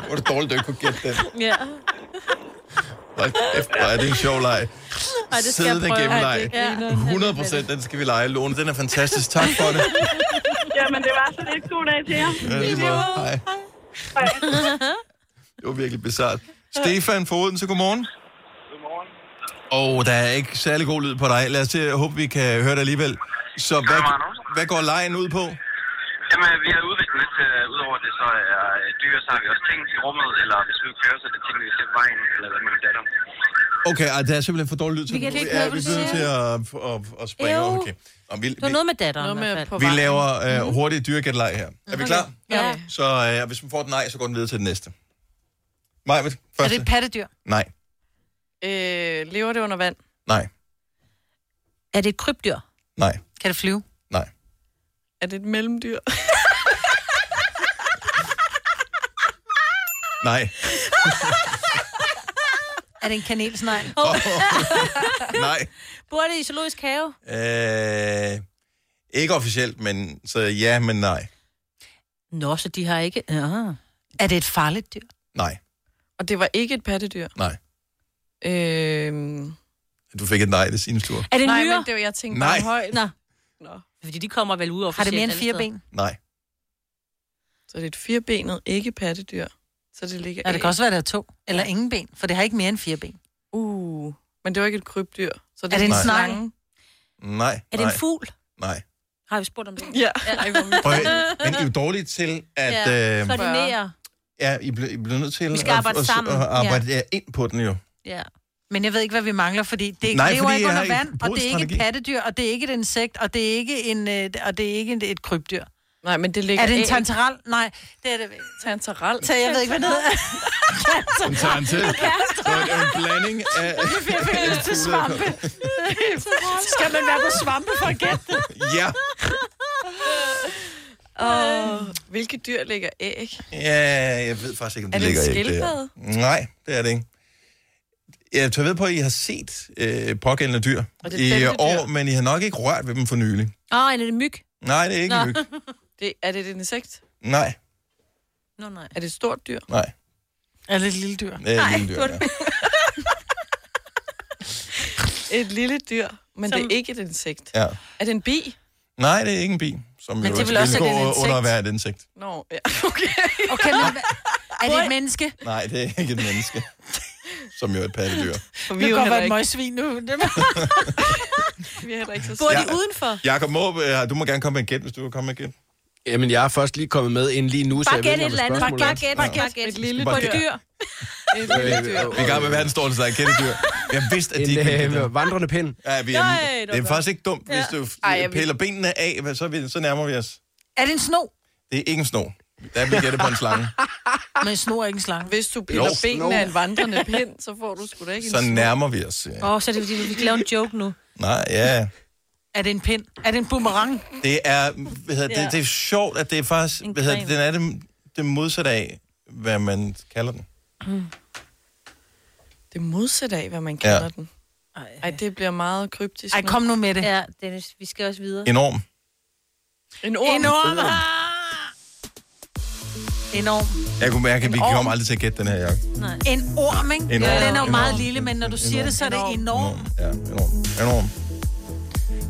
A: Hvor er det dårligt, at du ikke kunne gætte den.
B: Ja.
A: Hold kæft, hvor er det en sjov leg.
B: Ej, det skal jeg
A: Siddende
B: prøve.
A: gennem
B: Ej, det
A: leg.
B: griner.
A: 100 procent, den skal vi lege. Lone, den er fantastisk. Tak for
B: <laughs>
A: det.
K: Jamen, det var så lidt god dag til jer.
A: Ja, lige måde. Hej. Det var virkelig bizart. Stefan fra Odense, godmorgen. Godmorgen. Og der er ikke særlig god lyd på dig. Lad os se, jeg håber, vi kan høre det alligevel. Så hvad, hvad går lejen ud på?
E: Jamen, vi har udviklet lidt, øh, udover det så er øh, dyr, så har vi også ting i rummet, eller hvis vi kører, så er det ting, vi ser på vejen, eller hvad med min datter.
A: Okay, ej, det er simpelthen for dårlig lyd. til-
B: Vi kan ikke
A: ja,
B: høre,
A: vi
B: hvad du
A: bliver nødt til at, at, at, at springe over.
B: Øv.
A: Okay. Og vi,
B: Det var
A: vi,
B: noget med datteren.
C: Noget med
B: i hvert fald.
A: vi laver
B: Mhm.
A: øh, hurtigt dyregætleg her. Er vi klar?
D: Ja.
A: Så øh, hvis man får et nej, så går den videre til den næste. Maja, første?
D: Er det et pattedyr?
A: Nej,
C: Øh, lever det under vand?
A: nej,
B: Er det et krybdyr?
A: nej.
D: Kan det flyve?
A: Nej.
C: Er det et mellemdyr? <laughs>
B: <laughs>
A: Nej.
D: Er det en kanelsnegl?
B: Oh.
A: Nej.
B: Bor det i zoologisk have?
A: Øh, ikke officielt, men så ja, men nej.
B: Nå, så de har ikke... Ja.
D: Er det et farligt dyr?
A: Nej,
C: Og det var ikke et pattedyr.
A: nej.
C: Øhm...
A: Du fik et nej, det er sin tur.
B: Er det
C: Nej,
B: nyere?
C: men det var, jeg tænkte
A: Nej.
C: bare højt.
B: Nå. Fordi de kommer vel ud
D: Har det
B: officielt.
D: mere end
B: alle
D: fire
B: steder.
D: ben?
A: Nej.
C: Så det er et firebenet, ikke pattedyr. Så det ligger
D: Ja, det kan også være, at det er to. Eller ingen ben, for det har ikke mere end fire ben.
C: Uh, men det var ikke et krybdyr. Så det
D: Er det en
A: Nej.
D: snegl?
A: Nej,
B: Er det
A: nej,
B: en fugl?
A: Nej.
B: Har vi spurgt om det?
C: Ja.
A: Prøv, at- men I er jo dårlige til, at...
B: ja.
A: Øh,
B: Koordinere.
A: ja, I bliver, I bliver nødt til
B: Vi skal
A: at,
B: arbejde
A: at,
B: sammen.
A: at arbejde ja. ind på den jo.
B: Ja.
D: Men jeg ved ikke, hvad vi mangler, fordi det
A: Nej,
D: Nej, lever
A: fordi
D: ikke
A: jeg
D: under
A: har ikke
D: vand, og
A: brugt
D: det er ikke
A: strategi.
D: et pattedyr, og det er ikke et insekt, og det er ikke, en, øh, og det er ikke et, et krybdyr.
C: Nej, men det ligger
D: Er det en
C: æg.
D: tantaral? Nej, det er det ikke.
C: Tantaral.
D: Så jeg ved ikke, hvad det hedder.
A: Den tager en til. Så det er en blanding
B: <laughs>
A: af...
D: Jeg fik lyst
A: <laughs>
D: til svampe. <laughs> Skal man være på svampe for at gætte det?
A: Ja.
C: Oh. Hvilke dyr ligger æg?
A: Ja, jeg ved faktisk ikke, om
C: Er
A: det
C: det en
A: ligger ikke der. Nej, det er det ikke. Jeg tager ved på, at I har set øh, pågældende dyr
B: Og det er
A: i
B: femte dyr.
A: år, men I har nok ikke rørt ved dem for nylig.
B: Åh, oh, er det en myg?
A: Nej, det er ikke
B: Nå.
A: en myg.
C: Det, er det et insekt?
A: Nej,
B: Nå, nej.
C: Er det et stort dyr?
A: nej.
D: Er det et lille dyr?
A: Det er et lille dyr, ja.
C: Et lille dyr, men Som...
D: Som-
C: det er ikke et insekt.
A: ja.
C: Er det en bi?
A: Nej, det er ikke en bi, som
D: Men
A: jo
D: det er vel
A: vil
D: også
A: gå
D: et insekt?
A: under at være et insekt.
C: Nå, ja, <laughs> okay.
D: Okay, men hvad- er det et menneske?
A: Nej, det er ikke et menneske, <laughs> som jo er et pattedyr.
C: For
D: Det
C: vi
D: kan
C: er jo
D: godt
C: heller
D: være et
C: ikke,
D: møgsvin nu. Det var-
C: vi er heller ikke så
B: Bor de
C: store.
B: udenfor?
A: Jakob Måb, øh, du må gerne komme med et gæt, hvis du vil komme med et gæt.
S: Jamen, jeg er først lige kommet med ind lige nu, så
B: Bare
S: jeg ved
B: gæt et
S: ikke,
B: eller
S: hvad
B: andet. Bare
S: spørgsmålet
B: gæt, bare gæt, bare gæt.
C: Et lille
B: På
A: Bare
B: et
A: gæt.
B: dyr.
C: Et lille dyr.
A: Vi er i gang med verdens dårligste leg, kættedyr. Jeg vidste, at de
S: En,
A: ikke ville
S: øh,
A: gætte det.
S: vandrende pind.
A: Ja, vi er,
D: Nej, det var
A: det er
D: godt.
A: faktisk ikke dumt, hvis
D: Ja.
A: du
D: Ej, jeg
A: f- piller benene af, hvad så, er vi, så nærmer vi os.
D: Er det en sno?
A: Det er ikke en sno. Der vil gætte på en
B: <laughs>
A: slange.
B: Ah.
D: Men en sno er ikke en slange.
C: Hvis du piller
A: Jo.
C: benene af en vandrende pind, så får du sgu da ikke en
A: Så
C: snor.
A: nærmer vi os. ja.
B: Åh, oh, så er det fordi, vi kan lave en joke nu.
A: Nej, ja.
D: Er det en pind? Er det en boomerang?
A: Det er, hvad hedder, det, det er sjovt, at det er faktisk, hvad hedder, det, den er det, det modsatte af, hvad man kalder den.
C: Det modsatte af, hvad man kalder
A: Ja.
C: ja. den. Ej, det bliver meget kryptisk.
D: Ej, kom nu med det.
B: Ja, Dennis, vi skal også videre.
A: Enorm.
C: En orm.
D: En orm. En orm.
A: Jeg kunne mærke, at vi
D: En orm.
A: kom aldrig til at gætte den her, Jakob.
D: En orm, ikke?
A: En orm.
D: Den er jo
A: En
D: meget
A: orm.
D: lille, men når du
A: En
D: siger det, så er det enorm.
A: Ja, enorm. Enorm.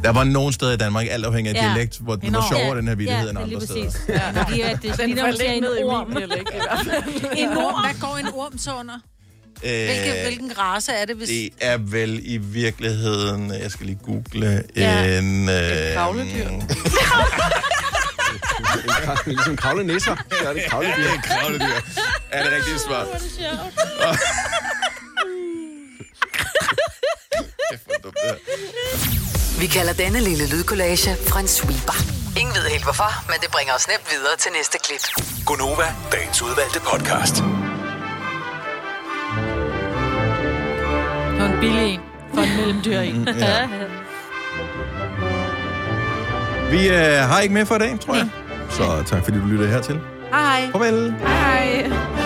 A: Der var nogen steder i Danmark, alt afhængig af
B: Ja.
A: dialekt, hvor den var
B: Enorm.
A: sjovere, den her
B: ja,
A: vittighed,
B: det
A: end
B: er lige
A: andre steder.
B: præcis. Ja. Fordi at det
C: Den
B: ligner,
C: var
B: at siger
C: lidt
B: en
C: ned i
B: orm.
C: min dialekt i hvert fald.
D: En
B: 啊
D: orm. Hvad går en orm så under? Hvilke,
A: Øh,
D: hvilken race er det, hvis...
A: Det er vel i virkeligheden, jeg skal lige google,
D: Ja.
A: en... øh,
D: Et kravledyr.
S: er. ligesom kravle nisser. Så er det kravledyr.
A: Ja, en kravledyr. Er det rigtigt svar? <laughs>
F: Vi kalder denne lille lydkollage en sweeper. Ingen ved helt hvorfor, men det bringer os nemt videre til næste klip.
I: Gonova, dagens udvalgte podcast.
D: Det var en billig en. For en mellemdyr en.
A: Mm. ja. Vi øh, har ikke mere for i dag, tror jeg. Så tak fordi du lyttede hertil.
C: Hej.
A: Farvel.
C: Hej.